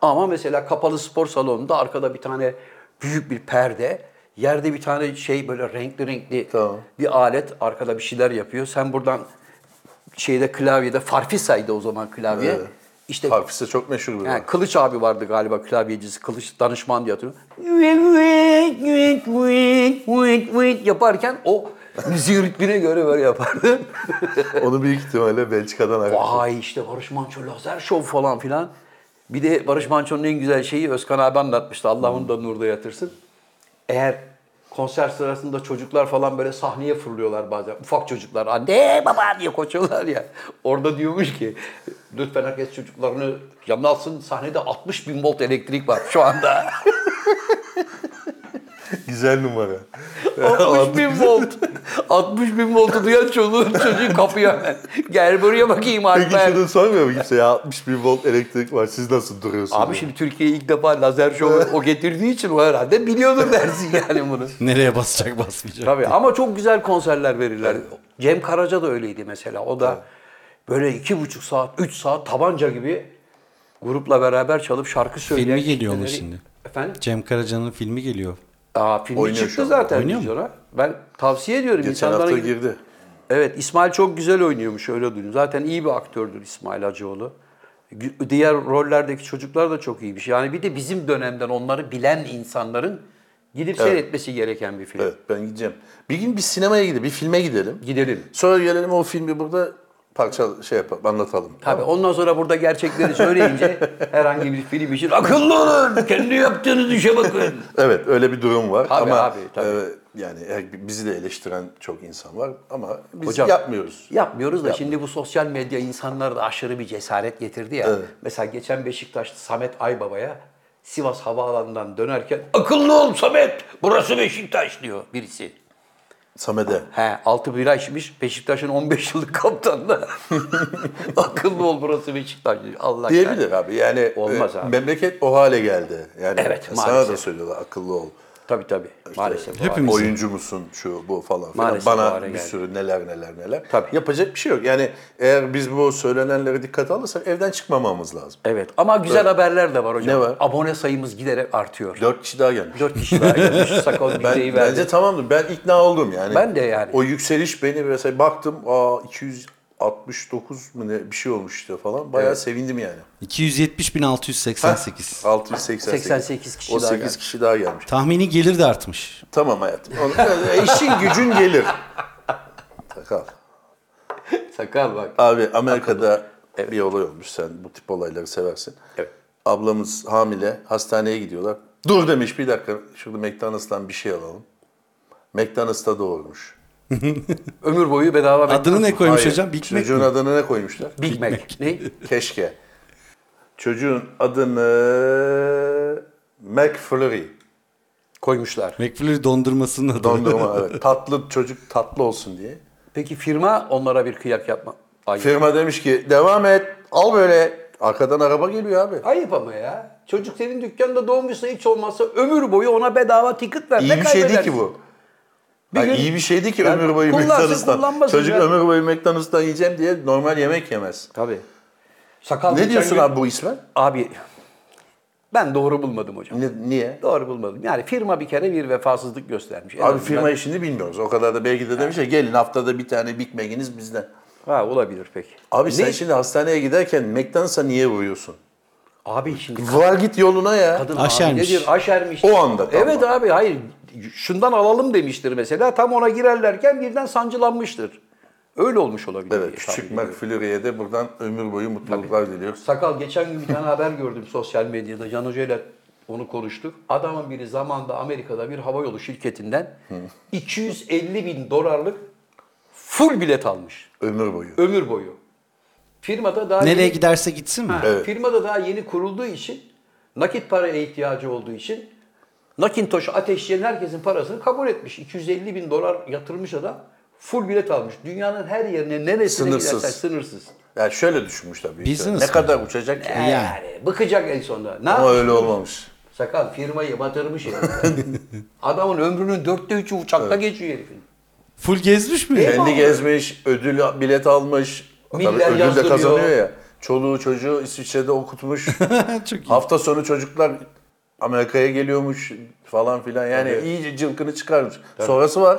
Speaker 1: Ama mesela kapalı spor salonunda arkada bir tane büyük bir perde, yerde bir tane şey böyle renkli renkli
Speaker 2: Tamam.
Speaker 1: bir alet arkada bir şeyler yapıyor. Sen buradan şeyde klavyede farfisaydı o zaman klavye.
Speaker 2: Evet.
Speaker 1: İşte
Speaker 2: Hafise çok meşhur bir
Speaker 1: yani
Speaker 2: adam.
Speaker 1: Kılıç abi vardı galiba klavyecisi, Kılıç danışman diye hatırlıyorum. Yaparken o müziğin ritmine göre böyle yapardı.
Speaker 2: Onu büyük ihtimalle Belçika'dan arkadaş.
Speaker 1: Vay işte Barış Manço lazer şov falan filan. Bir de Barış Manço'nun en güzel şeyi Özkan abi anlatmıştı. Allah
Speaker 2: Hmm.
Speaker 1: onu da nurda yatırsın. Eğer konser sırasında çocuklar falan böyle sahneye fırlıyorlar bazen. Ufak çocuklar anne baba diye koşuyorlar ya. Orada diyormuş ki lütfen herkes çocuklarını yanına alsın. Sahnede 60 bin volt elektrik var şu anda.
Speaker 2: Güzel numara.
Speaker 1: 60 bin volt. 60 bin voltu duyan çoluğun çocuğu kapıyor hemen. Gel buraya bakayım
Speaker 2: Peki
Speaker 1: Alper.
Speaker 2: şunu sormuyor mu kimse ya 60 bin volt elektrik var siz nasıl duruyorsunuz?
Speaker 1: Abi şimdi Türkiye'ye ilk defa lazer şovu o getirdiği için o herhalde biliyordur dersin yani bunu.
Speaker 3: Nereye basacak basmayacak.
Speaker 1: Tabii ama çok güzel konserler verirler. Cem Karaca da öyleydi mesela. O da böyle iki buçuk saat, üç saat tabanca gibi grupla beraber çalıp şarkı söyleyen...
Speaker 3: Filmi geliyor mu
Speaker 1: kitleleri-
Speaker 3: şimdi?
Speaker 1: Efendim?
Speaker 3: Cem Karaca'nın filmi geliyor.
Speaker 1: Aa, filmi
Speaker 2: Oynuyor şu
Speaker 1: çıktı
Speaker 2: anda.
Speaker 1: zaten
Speaker 3: Oynuyor mu?
Speaker 1: vizyona. Ben tavsiye ediyorum
Speaker 2: Geçen
Speaker 1: insanlara.
Speaker 2: hafta
Speaker 1: gidip-
Speaker 2: girdi.
Speaker 1: Evet İsmail çok güzel oynuyormuş öyle duydum. Zaten iyi bir aktördür İsmail Hacıoğlu. Gü- Diğer rollerdeki çocuklar da çok iyiymiş. Yani bir de bizim dönemden onları bilen insanların Gidip seyretmesi gereken bir film.
Speaker 2: Evet ben gideceğim. Bir gün bir sinemaya gidelim, bir filme gidelim.
Speaker 1: Gidelim.
Speaker 2: Sonra gelelim o filmi burada parça şey yapalım, anlatalım.
Speaker 1: Tabii ondan sonra burada gerçekleri söyleyince herhangi bir film için akıllı olun, kendi yaptığınız işe bakın.
Speaker 2: Evet öyle bir durum var
Speaker 1: Tabii
Speaker 2: ama
Speaker 1: abi, tabii.
Speaker 2: e, yani her- bizi de eleştiren çok insan var ama biz
Speaker 1: Hocam,
Speaker 2: yapmıyoruz.
Speaker 1: Yapmıyoruz da şimdi bu sosyal medya insanlara da aşırı bir cesaret getirdi ya. Mesela geçen Beşiktaşlı Samet Aybaba'ya Sivas Havaalanı'ndan dönerken akıllı ol Samet burası Beşiktaş diyor birisi.
Speaker 2: Samet'e.
Speaker 1: He 6 bira içmiş Beşiktaş'ın 15 yıllık kaptanına akıllı ol burası Beşiktaş diyor. Allah
Speaker 2: Diyebilir abi yani
Speaker 1: Olmaz
Speaker 2: e,
Speaker 1: abi.
Speaker 2: memleket o hale geldi. Yani
Speaker 1: Evet,
Speaker 2: sana da
Speaker 1: maalesef.
Speaker 2: söylüyorlar akıllı ol.
Speaker 1: Tabii tabii maalesef.
Speaker 3: Hep- Hepimizin.
Speaker 2: Oyuncu musun şu bu falan filan.
Speaker 1: Maalesef bu
Speaker 2: Bana
Speaker 1: hale
Speaker 2: bir
Speaker 1: geldi.
Speaker 2: sürü neler neler neler.
Speaker 1: Tabii.
Speaker 2: Yapacak bir şey yok. Yani eğer biz bu söylenenlere dikkate alırsak evden çıkmamamız lazım.
Speaker 1: Evet ama güzel haberler de var hocam.
Speaker 2: Ne var?
Speaker 1: Abone sayımız giderek artıyor.
Speaker 2: Dört kişi daha gelmiş.
Speaker 1: 4 kişi daha gelmiş. Sakal
Speaker 2: Ben,
Speaker 1: müjdeyi verdi.
Speaker 2: bence tamamdır. Ben ikna oldum yani.
Speaker 1: Ben de yani.
Speaker 2: O yükseliş beni mesela baktım aa 269 mu ne bir şey olmuş işte falan. Bayağı sevindim yani.
Speaker 3: 270.688.
Speaker 2: 688.
Speaker 1: 88 kişi
Speaker 2: o
Speaker 1: daha
Speaker 2: 8
Speaker 1: gelmiş.
Speaker 2: kişi daha gelmiş.
Speaker 3: Tahmini gelir de artmış.
Speaker 2: Tamam hayatım. Onu- işin gücün gelir. Sakal.
Speaker 1: Sakal bak.
Speaker 2: Abi Amerika'da bir olay olmuş. Sen bu tip olayları seversin.
Speaker 1: Evet.
Speaker 2: Ablamız hamile. Hastaneye gidiyorlar. Dur demiş bir dakika. Şurada McDonald's'tan bir şey alalım. McDonald's'ta doğurmuş.
Speaker 1: Ömür boyu bedava
Speaker 3: Adını ne koymuş
Speaker 2: Hayır,
Speaker 3: hocam? Big Mac
Speaker 2: Çocuğun
Speaker 3: mi?
Speaker 2: adını ne koymuşlar?
Speaker 1: Big Mac. Ne?
Speaker 2: Keşke. Çocuğun adını McFlurry.
Speaker 1: Koymuşlar.
Speaker 3: McFlurry dondurmasının adı.
Speaker 2: Dondurma evet. Tatlı çocuk tatlı olsun diye.
Speaker 1: Peki firma onlara bir kıyak yapma. Ayıp.
Speaker 2: Firma demiş ki devam et al böyle. Arkadan araba geliyor abi.
Speaker 1: Ayıp ama ya. Çocuk senin dükkanında doğmuşsa hiç olmazsa ömür boyu ona bedava ticket ver. Ne
Speaker 2: İyi bir şey değil
Speaker 1: kaybedersin?
Speaker 2: ki bu.
Speaker 1: Bir
Speaker 2: Ay,
Speaker 1: gün-
Speaker 2: iyi bir şey değil ki
Speaker 1: Yani
Speaker 2: ömür boyu
Speaker 1: kullansın,
Speaker 2: McDonald's'tan.
Speaker 1: kullanmasın
Speaker 2: Çocuk
Speaker 1: ya.
Speaker 2: ömür boyu McDonald's'tan yiyeceğim diye normal yemek yemez.
Speaker 1: Tabii. Sakal
Speaker 2: Ne
Speaker 1: geçen
Speaker 2: diyorsun
Speaker 1: gün-
Speaker 2: abi bu isme?
Speaker 1: Abi ben doğru bulmadım hocam.
Speaker 2: Ne- niye?
Speaker 1: Doğru bulmadım. Yani firma bir kere bir vefasızlık göstermiş. En
Speaker 2: Abi
Speaker 1: azından-
Speaker 2: firma işini bilmiyoruz. O kadar da belki de demiş ya gelin haftada bir tane Big Mac'iniz bizden.
Speaker 1: Ha olabilir peki.
Speaker 2: Abi sen şimdi hastaneye giderken McDonald's'a niye vuruyorsun?
Speaker 1: Abi şimdi
Speaker 2: Var git yoluna ya.
Speaker 1: kadın
Speaker 3: Aşermiş.
Speaker 1: hamiledir, aşermiş.
Speaker 2: O anda tam
Speaker 1: Evet
Speaker 2: o.
Speaker 1: abi hayır. Şundan alalım demiştir mesela. Tam ona girerlerken birden sancılanmıştır. Öyle olmuş olabilir.
Speaker 2: Evet,
Speaker 3: E,
Speaker 1: diye tahmin
Speaker 2: küçük
Speaker 1: ediyorum.
Speaker 2: McFlurry'e de buradan ömür boyu mutluluklar diliyoruz.
Speaker 1: Sakal geçen gün bir tane haber gördüm sosyal medyada. Can Hoca ile onu konuştuk. Adamın biri zamanda Amerika'da bir havayolu şirketinden 250 bin dolarlık full bilet almış.
Speaker 2: Ömür boyu.
Speaker 1: Ömür boyu. Firmada daha
Speaker 3: Nereye
Speaker 1: yeni-
Speaker 3: giderse gitsin mi?
Speaker 1: Ha, Firmada daha yeni kurulduğu için nakit paraya ihtiyacı olduğu için Nakintoş ateşleyen herkesin parasını kabul etmiş. 250 bin dolar yatırmış adam. Full bilet almış. Dünyanın her yerine neresine
Speaker 2: Sınırsız.
Speaker 1: gidersen sınırsız.
Speaker 2: Yani şöyle düşünmüş tabii. ki.
Speaker 3: Business
Speaker 2: ne
Speaker 3: mi?
Speaker 2: kadar uçacak ki?
Speaker 1: Yani. bıkacak en sonunda. Ne
Speaker 2: Ama
Speaker 1: yapmış?
Speaker 2: öyle olmamış.
Speaker 1: Sakal firmayı batırmış herif. Adamın ömrünün dörtte üçü uçakta geçiyor herifin.
Speaker 3: Full gezmiş mi?
Speaker 2: Kendi gezmiş, ödül bilet almış.
Speaker 1: Miller
Speaker 2: Tabii ödül de
Speaker 1: yazdırıyor.
Speaker 2: kazanıyor ya. Çoluğu çocuğu İsviçre'de okutmuş.
Speaker 3: Çok iyi.
Speaker 2: Hafta sonu çocuklar Amerika'ya geliyormuş falan filan. Yani iyice cılkını çıkarmış. Sonrası var.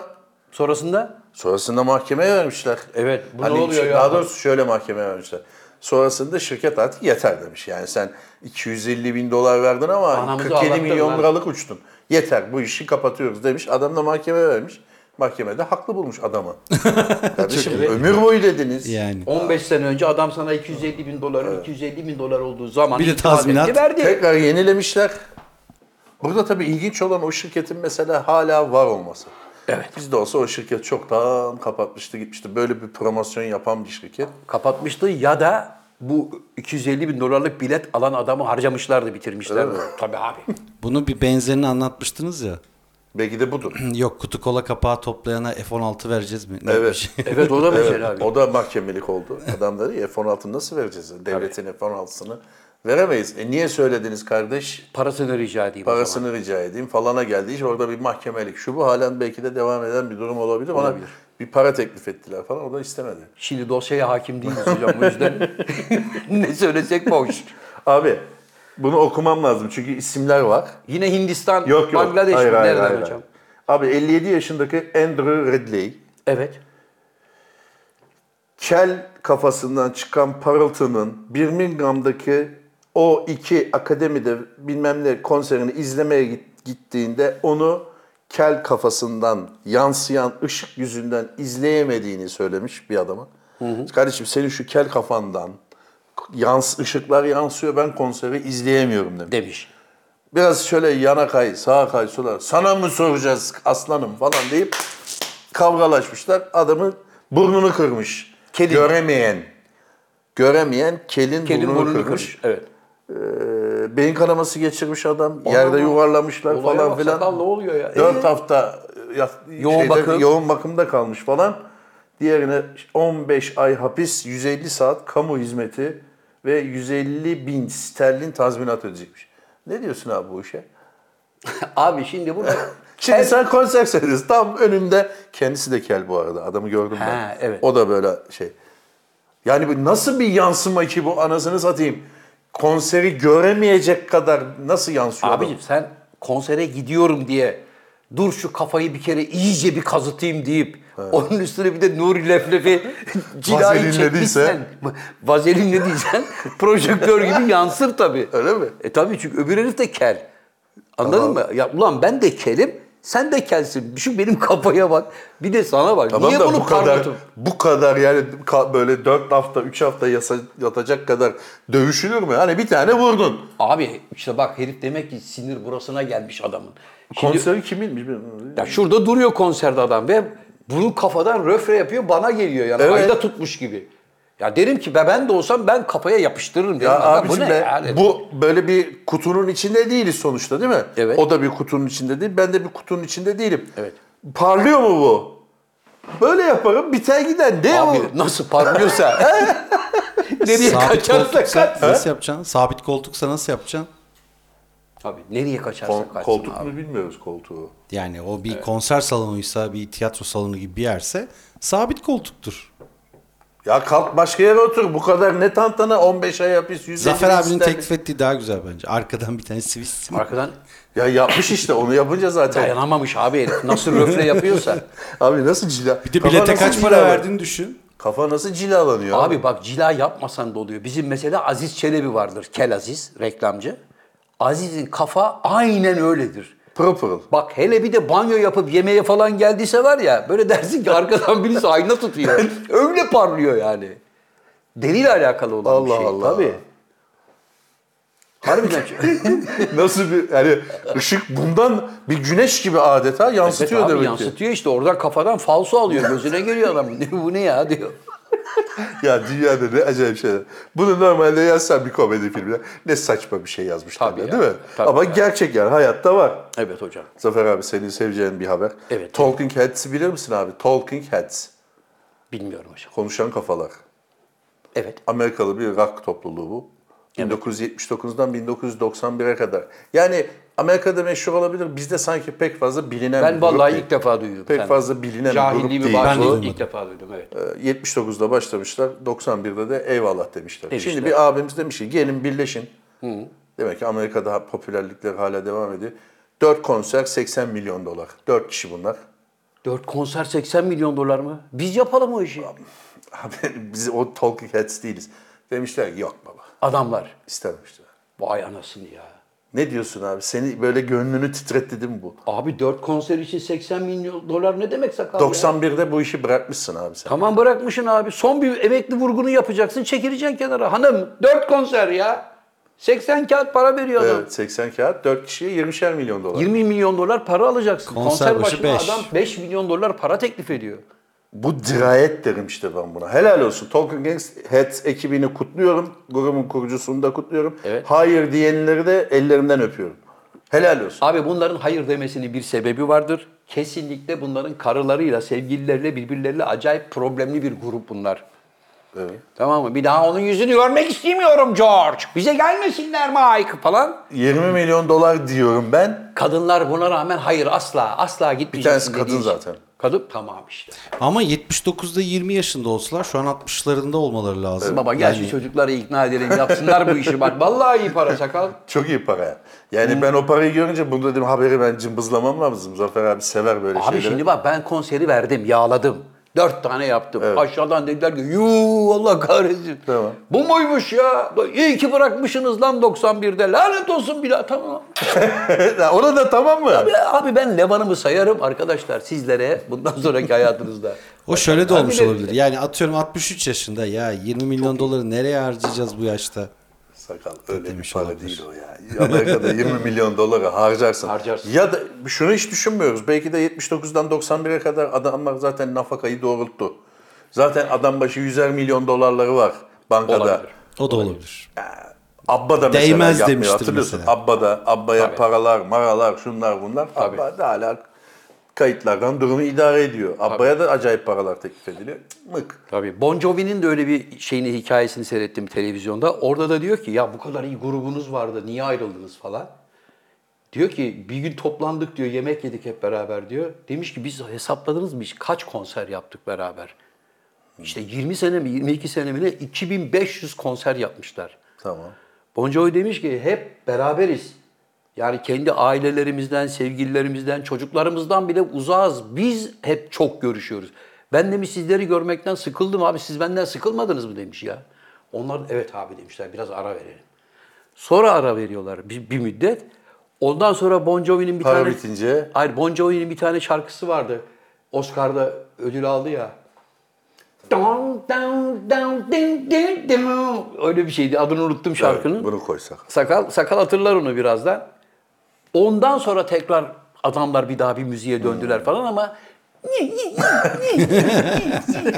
Speaker 1: Sonrasında
Speaker 2: Sonrasında mahkemeye vermişler.
Speaker 1: Evet, bu ne oluyor
Speaker 2: şu-
Speaker 1: ya?
Speaker 2: Daha doğrusu şöyle mahkemeye vermişler. Sonrasında şirket artık yeter demiş. Yani sen 250 bin dolar verdin ama
Speaker 1: Anamızı
Speaker 2: 47
Speaker 1: ağlattın
Speaker 2: milyon
Speaker 1: lan.
Speaker 2: liralık uçtun. Yeter bu işi kapatıyoruz demiş. Adam da mahkemeye vermiş. Mahkemede haklı bulmuş adamı. Kardeşim ömür boyu dediniz.
Speaker 3: Yani.
Speaker 1: 15 sene önce adam sana 250 bin doların 250 bin dolar olduğu zaman
Speaker 3: Bir de
Speaker 1: iki vadetle
Speaker 3: tazminat.
Speaker 1: verdi.
Speaker 2: Tekrar yenilemişler. Burada tabii ilginç olan o şirketin mesela hala var olması. Evet. Bizde olsa o şirket çoktan kapatmıştı gitmişti. Böyle bir promosyon yapan bir şirket.
Speaker 1: kapatmıştı ya da bu 250 bin dolarlık bilet alan adamı harcamışlardı, bitirmişlerdi. Tabii abi.
Speaker 3: Bunu bir benzerini anlatmıştınız ya.
Speaker 2: Belki de budur.
Speaker 3: Yok kutu kola kapağı toplayana F-16 vereceğiz mi? Ne bir şey.
Speaker 2: Evet.
Speaker 1: Evet o da
Speaker 2: Evet,
Speaker 1: mesela abi.
Speaker 2: O da mahkemelik oldu. Adam dedi ya F-16 nasıl vereceğiz? Devletin F-16'sını veremeyiz. E niye söylediniz kardeş?
Speaker 1: Parasını rica edeyim o zaman.
Speaker 2: Parasını rica edeyim falana geldi. İş orada bir mahkemelik. Şu bu halen belki de devam eden bir durum olabilir. Ona
Speaker 1: Olabilir.
Speaker 2: bir para teklif ettiler falan. O da istemedi.
Speaker 1: Şimdi dosyaya hakim değiliz hocam bu yüzden ne söylesek boş.
Speaker 2: Abi bunu okumam lazım çünkü isimler var.
Speaker 1: Yine Hindistan,
Speaker 2: Yok yok.
Speaker 1: Bangladeş
Speaker 2: Hayır,
Speaker 1: mi?
Speaker 2: hayır,
Speaker 1: Nereden
Speaker 2: hayır,
Speaker 1: hocam?
Speaker 2: hayır. Abi 57 yaşındaki Andrew Ridley.
Speaker 1: Evet.
Speaker 2: kel kafasından çıkan parıltının Birmingham'daki o iki akademide bilmem ne konserini izlemeye git- gittiğinde onu kel kafasından yansıyan ışık yüzünden izleyemediğini söylemiş bir adama. Kardeşim senin şu kel kafandan yans ışıklar yansıyor ben konseri izleyemiyorum demiş.
Speaker 1: demiş.
Speaker 2: Biraz şöyle yana kay, sağa kay, sola. Sana mı soracağız aslanım falan deyip kavgalaşmışlar. Adamın burnunu kırmış. Göremeyen. Göremeyen kelin,
Speaker 1: Kedin
Speaker 2: burnunu,
Speaker 1: burnunu kırmış.
Speaker 2: kırmış.
Speaker 1: Evet.
Speaker 2: Ee, beyin kanaması geçirmiş adam. Yerde yuvarlamışlar
Speaker 1: Olaya
Speaker 2: falan
Speaker 1: bak,
Speaker 2: filan.
Speaker 1: sakal ne oluyor ya? Ee?
Speaker 2: 4 hafta yat-
Speaker 1: Yoğun bakım.
Speaker 2: yoğun bakımda kalmış falan. Diğerine 15 ay hapis, 150 saat kamu hizmeti ve 150 bin sterlin tazminat ödeyecekmiş. Ne diyorsun abi bu işe?
Speaker 1: Abi şimdi burada...
Speaker 2: Şimdi sen konser seyrediyorsun. Tam önümde kendisi de kel bu arada. Adamı gördüm ben.
Speaker 1: Ha, evet.
Speaker 2: O da böyle şey. Yani bu nasıl bir yansıma ki bu anasını satayım? Konseri göremeyecek kadar nasıl yansıyor? adam?
Speaker 1: Abicim sen konsere gidiyorum diye dur şu kafayı bir kere iyice bir kazıtayım deyip onun üstüne bir de Nuri Leflef'i cilayı
Speaker 2: Vazelinlediyse-
Speaker 1: çekmişsen, vazelinlediysen projektör gibi yansır tabii.
Speaker 2: Öyle mi?
Speaker 1: E tabii çünkü öbür herif de kel. Anladın mı? Ya ulan ben de kelim, sen de kelsin. Şu benim kafaya bak. Bir de sana bak.
Speaker 2: Tamam
Speaker 1: Niye
Speaker 2: da
Speaker 1: bunu
Speaker 2: bu kadar,
Speaker 1: parlatıp?
Speaker 2: bu kadar yani ka- böyle 4 hafta, 3 hafta yasa, yatacak kadar dövüşülür mü? Hani bir tane vurdun.
Speaker 1: Abi işte bak herif demek ki sinir burasına gelmiş adamın. Şimdi-
Speaker 2: Konseri kiminmiş? bilmiyorum.
Speaker 1: Ya şurada duruyor konserde adam ve bunu kafadan röfre yapıyor bana geliyor yani
Speaker 2: Evet.
Speaker 1: ayda tutmuş gibi. Ya derim ki be ben de olsam ben kafaya yapıştırırım derim.
Speaker 2: Ya
Speaker 1: Ya
Speaker 2: abicim
Speaker 1: bu ne
Speaker 2: be,
Speaker 1: yani?
Speaker 2: bu böyle bir kutunun içinde değiliz sonuçta değil mi?
Speaker 1: Evet.
Speaker 2: O da bir kutunun içinde değil, ben de bir kutunun içinde değilim.
Speaker 1: Evet.
Speaker 2: Parlıyor mu bu? Böyle yaparım biter gider. Ne
Speaker 1: Abi
Speaker 2: o?
Speaker 1: nasıl parlıyorsa. nereye kaçarsa kaç.
Speaker 3: nasıl yapacaksın? Sabit koltuksa nasıl yapacaksın?
Speaker 1: Abi nereye kaçarsa
Speaker 2: Kon-
Speaker 1: kaçsın
Speaker 2: koltuk
Speaker 1: abi.
Speaker 2: mu bilmiyoruz koltuğu.
Speaker 3: Yani o bir konser salonuysa, bir tiyatro salonu gibi bir yerse sabit koltuktur.
Speaker 2: Ya kalk başka yere otur. Bu kadar ne tantana 15 ay hapis 150
Speaker 3: Zafer abinin
Speaker 2: isterlik.
Speaker 3: teklif ettiği daha güzel bence. Arkadan bir tane Swiss.
Speaker 1: Arkadan
Speaker 2: Ya yapmış işte onu yapınca zaten.
Speaker 1: dayanamamış abi herif. Nasıl röfle yapıyorsa.
Speaker 2: Abi nasıl cila?
Speaker 3: Bir de
Speaker 2: Kafa
Speaker 3: bilete
Speaker 2: nasıl
Speaker 3: kaç para
Speaker 2: cilalan-
Speaker 3: verdiğini düşün.
Speaker 2: Kafa nasıl cilalanıyor?
Speaker 1: Abi bak cila yapmasan da oluyor. Bizim mesela Aziz Çelebi vardır. Kel Aziz reklamcı. Aziz'in kafa aynen öyledir.
Speaker 2: pırıl pırıl.
Speaker 1: Bak hele bir şey de banyo yapıp yemeğe falan geldiyse var ya böyle dersin ki arkadan birisi ayna tutuyor. Öyle parlıyor yani. Deriyle alakalı olan bir
Speaker 2: Allah
Speaker 1: şey.
Speaker 2: Allah.
Speaker 1: Tabii. Harbiden.
Speaker 2: Nasıl bir yani ışık bundan bir güneş gibi adeta yansıtıyor
Speaker 1: Abi
Speaker 2: demek ki.
Speaker 1: yansıtıyor işte oradan kafadan falso alıyor. Gözüne geliyor adam. "Ne Bu ne ya diyor.
Speaker 2: Ya dünyada ne acayip şeyler. Bunu normalde yazsan bir komedi filmine ne saçma bir şey yazmışlar
Speaker 1: Tabii
Speaker 2: ya,
Speaker 1: ya,
Speaker 2: değil mi?
Speaker 1: tabii
Speaker 2: Ama
Speaker 1: ya.
Speaker 2: gerçek yani hayatta var.
Speaker 1: Evet hocam.
Speaker 2: Zafer abi senin seveceğin bir haber.
Speaker 1: Evet.
Speaker 2: Talking Heads'i bilir misin abi? Talking Heads.
Speaker 1: Bilmiyorum hocam.
Speaker 2: Konuşan kafalar.
Speaker 1: Evet.
Speaker 2: Amerikalı bir rock topluluğu bu. 1979'dan 1991'e kadar. Yani Amerika'da meşhur olabilir. Bizde sanki pek fazla bilinen bir
Speaker 1: Ben
Speaker 2: grup
Speaker 1: vallahi
Speaker 2: değil.
Speaker 1: ilk defa duydum.
Speaker 2: Pek
Speaker 1: Yani
Speaker 2: fazla bilinen bir grup
Speaker 1: Cahilliğimi
Speaker 2: değil.
Speaker 1: bağışla-
Speaker 3: Ben de duymadım.
Speaker 1: ilk defa duydum evet.
Speaker 2: Ee, 79'da başlamışlar, 91'de de eyvallah demişler.
Speaker 1: Demişler.
Speaker 2: Şimdi bir abimiz demiş ki gelin birleşin. Demek ki Amerika'da ha- popülerlikleri hala devam ediyor. 4 konser 80 milyon dolar. 4 kişi bunlar.
Speaker 1: Dört konser 80 milyon dolar mı? Biz yapalım o işi.
Speaker 2: Abi biz o Talking Heads değiliz. Demişler ki, yok baba
Speaker 1: Adamlar.
Speaker 2: istememişler.
Speaker 1: Vay anasını ya.
Speaker 2: Ne diyorsun abi? Seni böyle gönlünü titretti değil mi bu?
Speaker 1: Abi 4 konser için 80 milyon dolar ne demek sakal ya?
Speaker 2: 91'de bu işi bırakmışsın abi sen.
Speaker 1: Tamam bırakmışsın abi. Son bir emekli vurgunu yapacaksın. Çekileceksin kenara. Hanım 4 konser ya. 80 kağıt para veriyor adam.
Speaker 2: Evet 80 kağıt 4 kişiye 20'şer milyon dolar.
Speaker 1: 20 milyon dolar para alacaksın.
Speaker 3: Konser
Speaker 1: Konser,
Speaker 3: başı
Speaker 1: başına
Speaker 3: beş.
Speaker 1: adam 5 milyon dolar para teklif ediyor.
Speaker 2: Bu dirayet derim işte ben buna. Helal olsun. Talking Heads, Heads ekibini kutluyorum. Grubun kurucusunu da kutluyorum.
Speaker 1: Evet.
Speaker 2: Hayır diyenleri de ellerinden öpüyorum. Helal olsun.
Speaker 1: Abi bunların hayır demesinin bir sebebi vardır. Kesinlikle bunların karılarıyla, sevgilileriyle, birbirleriyle acayip problemli bir grup bunlar.
Speaker 2: Evet.
Speaker 1: Tamam mı? Bir daha onun yüzünü görmek istemiyorum George. Bize gelmesinler Mike falan.
Speaker 2: 20 milyon dolar diyorum ben.
Speaker 1: Kadınlar buna rağmen hayır asla asla gitmeyeceksin.
Speaker 2: Bir tanesi
Speaker 1: dediği
Speaker 2: kadın
Speaker 1: için.
Speaker 2: zaten.
Speaker 1: Kadın tamam işte.
Speaker 3: Ama 79'da 20 yaşında olsalar şu an 60'larında olmaları lazım.
Speaker 1: Baba gel şu çocukları ikna edelim yapsınlar bu işi bak. Vallahi iyi para sakal.
Speaker 2: Çok iyi para. Yani ben o parayı görünce bunu dedim haberi ben cımbızlamam lazım. Zafer abi sever böyle
Speaker 1: Abi
Speaker 2: şeyleri.
Speaker 1: şimdi bak ben konseri verdim, yağladım. Dört tane yaptım. Aşağıdan dediler ki yuu Allah kahretsin.
Speaker 2: Tamam.
Speaker 1: Bu muymuş ya? İyi ki bırakmışsınız lan 91'de. Lanet olsun bir daha. Tamam.
Speaker 2: Ona da tamam mı?
Speaker 1: Abi, abi ben Levan'ımı sayarım arkadaşlar sizlere bundan sonraki hayatınızda.
Speaker 3: O şöyle de
Speaker 1: Abi
Speaker 3: olmuş
Speaker 1: ne-
Speaker 3: olabilir. Yani atıyorum 63 yaşında ya 20 milyon doları nereye harcayacağız bu yaşta?
Speaker 2: Sakal öyle bir
Speaker 3: Demiş
Speaker 2: para
Speaker 3: şey olabilir.
Speaker 2: değil o ya. Amerika'da 20 milyon doları harcarsın.
Speaker 1: Harcarsın.
Speaker 2: Ya da şunu hiç düşünmüyoruz. Belki de 79'dan 91'e kadar adamlar zaten nafakayı doğrulttu. Zaten adam başı 100'er milyon dolarları var bankada.
Speaker 1: Olabilir.
Speaker 3: O da olabilir.
Speaker 2: Abba da mesela
Speaker 3: Değmez
Speaker 2: yapmıyor.
Speaker 3: demiştir
Speaker 2: Hatırlıyorsun.
Speaker 3: mesela.
Speaker 2: Abba da, Abba'ya
Speaker 1: Tabii.
Speaker 2: paralar, maralar, şunlar bunlar.
Speaker 1: Tabii.
Speaker 2: Abba da hala kayıtlardan durumu idare ediyor. Abba'ya da acayip paralar teklif ediliyor. Cık, Mık.
Speaker 1: Tabii Bon Jovi'nin de öyle bir şeyini hikayesini seyrettim televizyonda. Orada da diyor ki ya bu kadar iyi grubunuz vardı niye ayrıldınız falan. Diyor ki bir gün toplandık diyor yemek yedik hep beraber diyor. Demiş ki biz hesapladınız mı hiç kaç konser yaptık beraber? İşte 20 sene mi 22 sene mi ne 2500 konser yapmışlar.
Speaker 2: Tamam.
Speaker 1: Bon Jovi demiş ki hep beraberiz. Yani kendi ailelerimizden, sevgililerimizden, çocuklarımızdan bile uzağız. Biz hep çok görüşüyoruz. Ben demiş sizleri görmekten sıkıldım abi. Siz benden sıkılmadınız mı demiş ya. Onlar evet abi demişler biraz ara verelim. Sonra ara veriyorlar bir, bir müddet. Ondan sonra Bon Jovi'nin bir
Speaker 2: Para
Speaker 1: tane...
Speaker 2: bitince?
Speaker 1: Hayır Bon Jovi'nin bir tane şarkısı vardı. Oscar'da ödül aldı ya. Dong, dong, dong, ding, ding, dong. Öyle bir şeydi. Adını unuttum şarkının.
Speaker 2: Evet, bunu koysak.
Speaker 1: Sakal, sakal hatırlar onu birazdan. Ondan sonra tekrar adamlar bir daha bir müziğe döndüler falan ama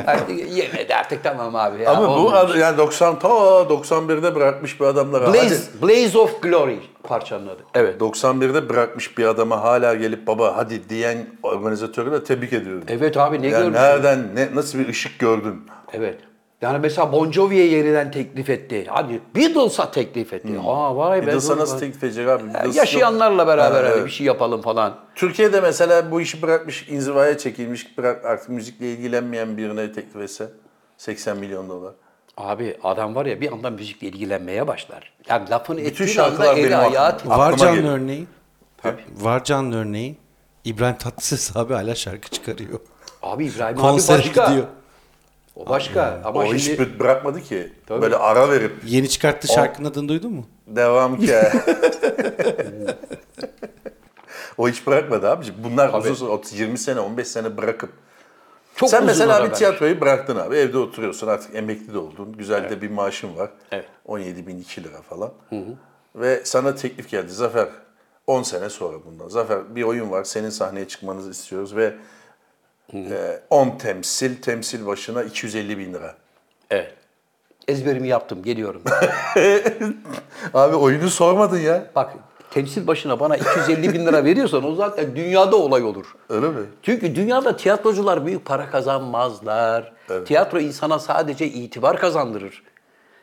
Speaker 1: artık yemedi artık tamam abi ya.
Speaker 2: Ama bu
Speaker 1: olmamış.
Speaker 2: ad- yani 90 ta 91'de bırakmış bir adamlara. Hadi
Speaker 1: Blaze, Blaze of Glory parçanın adı. Evet.
Speaker 2: 91'de bırakmış bir adama hala gelip baba hadi diyen organizatörü de tebrik ediyorum.
Speaker 1: Evet abi ne
Speaker 2: yani
Speaker 1: görmüşsün?
Speaker 2: nereden ne nasıl bir ışık gördün?
Speaker 1: Evet. Yani mesela Bon Jovi'ye yeniden teklif etti. Hadi Beatles'a teklif etti. Aa vay be.
Speaker 2: Hmm. Beatles'a
Speaker 1: dur
Speaker 2: nasıl
Speaker 1: bak.
Speaker 2: teklif edecek abi? Beatles yok.
Speaker 1: Yaşayanlarla beraber
Speaker 2: Ha,
Speaker 1: hani
Speaker 2: evet.
Speaker 1: bir şey yapalım falan.
Speaker 2: Türkiye'de mesela bu işi bırakmış, inzivaya çekilmiş, bırak artık müzikle ilgilenmeyen birine teklif etse 80 milyon dolar.
Speaker 1: Abi adam var ya bir anda müzikle ilgilenmeye başlar. Yani lafını
Speaker 2: Bütün
Speaker 1: ettiğin anda
Speaker 2: şarkılar
Speaker 1: eli
Speaker 2: benim
Speaker 1: ayağı
Speaker 2: aklımda.
Speaker 1: titriyor.
Speaker 3: Var canlı
Speaker 2: geliyor.
Speaker 3: örneği. Var canlı örneği. İbrahim Tatlıses abi hala şarkı çıkarıyor.
Speaker 1: Abi İbrahim
Speaker 3: Konsere
Speaker 1: abi başka.
Speaker 3: gidiyor.
Speaker 1: O başka. Ama
Speaker 2: o
Speaker 1: şimdi
Speaker 2: hiç bir- bırakmadı ki. Böyle ara verip
Speaker 3: Yeni çıkarttığı şarkının adını duydun mu?
Speaker 2: devam ki. o hiç bırakmadı abici. Bunlar uzun süre 30, 20 sene, 15 sene bırakıp
Speaker 1: çok
Speaker 2: Sen
Speaker 1: uzun
Speaker 2: mesela
Speaker 1: ara
Speaker 2: bir
Speaker 1: vermiş.
Speaker 2: tiyatroyu bıraktın abi. Evde oturuyorsun artık emekli de oldun. Güzel de bir maaşın var.
Speaker 1: Evet.
Speaker 2: 17 bin iki lira falan. Ve sana teklif geldi. Zafer 10 sene sonra bundan. Zafer bir oyun var. Senin sahneye çıkmanızı istiyoruz ve e, 10 temsil, temsil başına 250 bin lira.
Speaker 1: Evet. Ezberimi yaptım geliyorum.
Speaker 2: Abi oyunu sormadın ya.
Speaker 1: Bak temsil başına bana 250 bin lira veriyorsan o zaten dünyada olay olur.
Speaker 2: Öyle mi?
Speaker 1: Çünkü dünyada tiyatrocular büyük para kazanmazlar. Tiyatro insana sadece itibar kazandırır.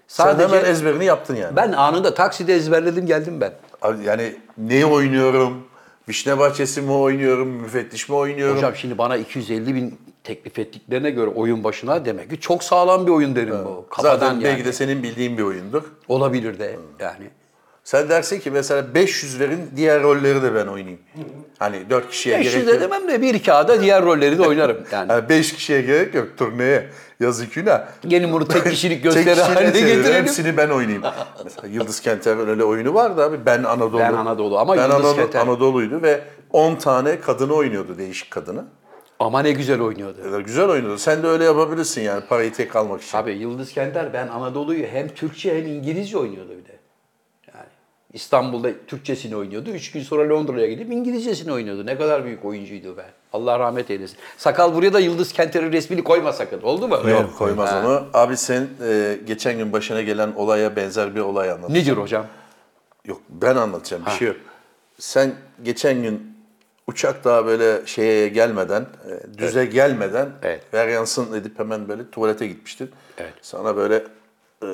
Speaker 2: Sen
Speaker 1: Sadece
Speaker 2: hemen ezberini yaptın yani.
Speaker 1: ben anında takside ezberledim geldim ben.
Speaker 2: Abi Yani neyi oynuyorum? Vişne bahçesi mi oynuyorum? Müfettiş mi oynuyorum?
Speaker 1: Hocam şimdi bana 250 bin teklif ettiklerine göre oyun başına demek ki çok sağlam bir oyun derim bu. Kafadan
Speaker 2: Zaten
Speaker 1: yani.
Speaker 2: belki de senin bildiğin bir oyundur.
Speaker 1: Olabilir de yani.
Speaker 2: Sen dersin ki mesela 500 verin diğer rolleri de ben oynayayım. Hani 4 kişiye
Speaker 1: 500
Speaker 2: gerek
Speaker 1: de
Speaker 2: yok.
Speaker 1: demem de bir iki ağda diğer rolleri de oynarım yani.
Speaker 2: Yani 5 kişiye gerek yok turneye. Yazık günah.
Speaker 1: Gelin bunu tek kişilik
Speaker 2: Tek
Speaker 1: gösteri
Speaker 2: kişiyle
Speaker 1: haline
Speaker 2: seviyorum,
Speaker 1: getirelim.
Speaker 2: Hepsini ben oynayayım. mesela Yıldız Kenter'in öyle oyunu vardı abi. Ben Anadolu.
Speaker 1: Ben Anadolu ama
Speaker 2: ben
Speaker 1: Yıldız
Speaker 2: Anadolu,
Speaker 1: Kenter-
Speaker 2: Anadolu'ydu ve 10 tane kadını oynuyordu değişik kadını.
Speaker 1: Ama ne güzel oynuyordu.
Speaker 2: Böyle Güzel oynuyordu. Sen de öyle yapabilirsin yani parayı tek almak için.
Speaker 1: Abi Yıldız Kender ben Anadolu'yu hem Türkçe hem İngilizce oynuyordu bir de. Yani İstanbul'da Türkçesini oynuyordu. Üç gün sonra Londra'ya gidip İngilizcesini oynuyordu. Ne kadar büyük oyuncuydu be. Allah rahmet eylesin. Sakal buraya da Yıldız Kenter'in resmini koyma sakın. Oldu mu?
Speaker 2: Yok koymaz onu. Abi sen e, geçen gün başına gelen olaya benzer bir olay anlat.
Speaker 1: Nedir hocam?
Speaker 2: Yok ben anlatacağım bir şey yok. Sen geçen gün uçak daha böyle şeye gelmeden, e, düze gelmeden
Speaker 1: Evet.
Speaker 2: varyansın edip hemen böyle tuvalete gitmiştin.
Speaker 1: Evet.
Speaker 2: Sana böyle e,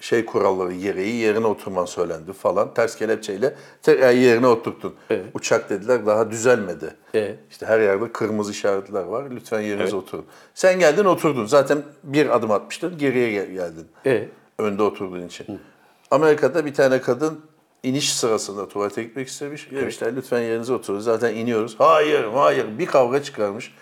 Speaker 2: şey kuralları gereği yerine oturman söylendi falan. Ters kelepçeyle tekrar yerine oturttun.
Speaker 1: Evet.
Speaker 2: Uçak dediler daha düzelmedi.
Speaker 1: Evet.
Speaker 2: İşte her yerde kırmızı işaretler var. Lütfen yerinize oturun. Sen geldin oturdun. Zaten bir adım atmıştın geriye gel- geldin
Speaker 1: Evet.
Speaker 2: önde oturduğun için. Amerika'da bir tane kadın iniş sırasında tuvalete gitmek istemiş. Demişler lütfen yerinize oturun zaten iniyoruz. Hayır hayır bir kavga çıkarmış.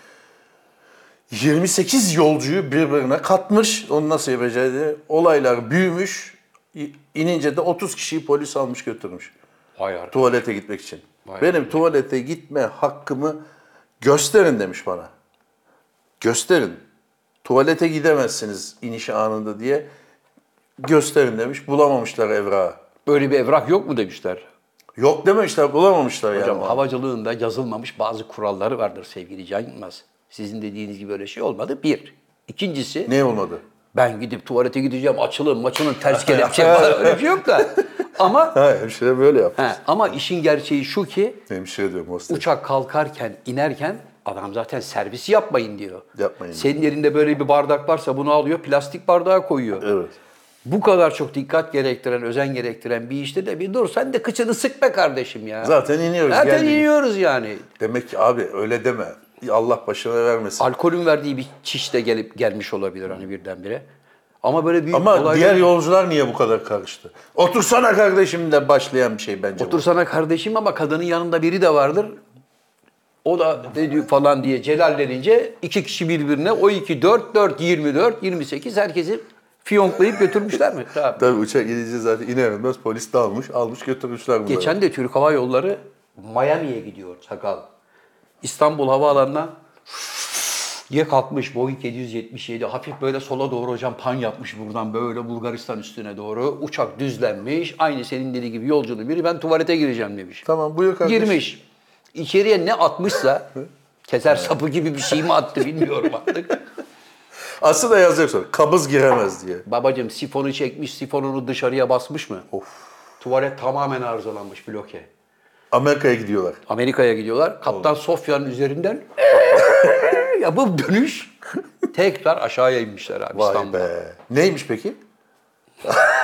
Speaker 2: 28 yolcuyu birbirine katmış. Onu nasıl yapacağı Olaylar büyümüş. İ- İnince de 30 kişiyi polis almış götürmüş.
Speaker 1: Vay arkadaş.
Speaker 2: Tuvalete gitmek için.
Speaker 1: Vay
Speaker 2: Benim tuvalete gitme hakkımı gösterin demiş bana. Gösterin. Tuvalete gidemezsiniz iniş anında diye gösterin demiş. Bulamamışlar evrağı.
Speaker 1: Böyle bir evrak yok mu demişler.
Speaker 2: Yok dememişler, bulamamışlar
Speaker 1: Hocam
Speaker 2: yani.
Speaker 1: havacılığında yazılmamış bazı kuralları vardır sevgili Can Yılmaz. Sizin dediğiniz gibi öyle şey olmadı. Bir. İkincisi
Speaker 2: Ne olmadı?
Speaker 1: ben gidip tuvalete gideceğim açılın maçının ters kelepçe falan öyle bir şey yok da. Ama
Speaker 2: Ha, hemşire böyle yaptı.
Speaker 1: he, ama işin gerçeği şu ki
Speaker 2: Hemşire diyorum hostes.
Speaker 1: uçak kalkarken inerken adam zaten servisi yapmayın diyor.
Speaker 2: Yapmayın.
Speaker 1: Senin elinde böyle bir bardak varsa bunu alıyor plastik bardağa koyuyor.
Speaker 2: Evet.
Speaker 1: Bu kadar çok dikkat gerektiren, özen gerektiren bir işte de bir dur sen de kıçını sıkma kardeşim ya.
Speaker 2: Zaten iniyoruz,
Speaker 1: Zaten
Speaker 2: geldik.
Speaker 1: iniyoruz yani.
Speaker 2: Demek ki abi öyle deme. Allah başına vermesin.
Speaker 1: Alkolün verdiği bir çiş de gelip gelmiş olabilir hani birdenbire. Ama böyle büyük
Speaker 2: Ama
Speaker 1: olay-
Speaker 2: diğer yolcular niye bu kadar karıştı? Otursana kardeşim de başlayan bir şey bence. bu.
Speaker 1: Otursana kardeşim ama kadının yanında biri de vardır. O da ne diyor falan diye celallenince iki kişi birbirine o iki 4, 4, 24, 28 herkesi fiyonklayıp götürmüşler mi? Tabii.
Speaker 2: Tabii uçak gidince zaten iner inmez polis de almış, almış götürmüşler bunları.
Speaker 1: Geçen de Türk Hava Yolları Miami'ye gidiyor sakal. İstanbul Havaalanı'na diye kalkmış Boeing 777 hafif böyle sola doğru hocam pan yapmış buradan böyle Bulgaristan üstüne doğru uçak düzlenmiş aynı senin dediği gibi yolcunun biri ben tuvalete gireceğim demiş.
Speaker 2: Tamam buyur kardeşim.
Speaker 1: Girmiş. İçeriye ne atmışsa keser sapı gibi bir şey mi attı bilmiyorum artık.
Speaker 2: Aslında yazacak sonra kabız giremez diye.
Speaker 1: Babacım sifonu çekmiş sifonunu dışarıya basmış mı? Of. Tuvalet tamamen arızalanmış bloke.
Speaker 2: Amerika'ya gidiyorlar.
Speaker 1: Amerika'ya gidiyorlar. Kaptan Sofya'nın üzerinden yapıp dönüş tekrar aşağıya inmişler abi
Speaker 2: Vay
Speaker 1: İstanbul'a.
Speaker 2: be. Neymiş peki?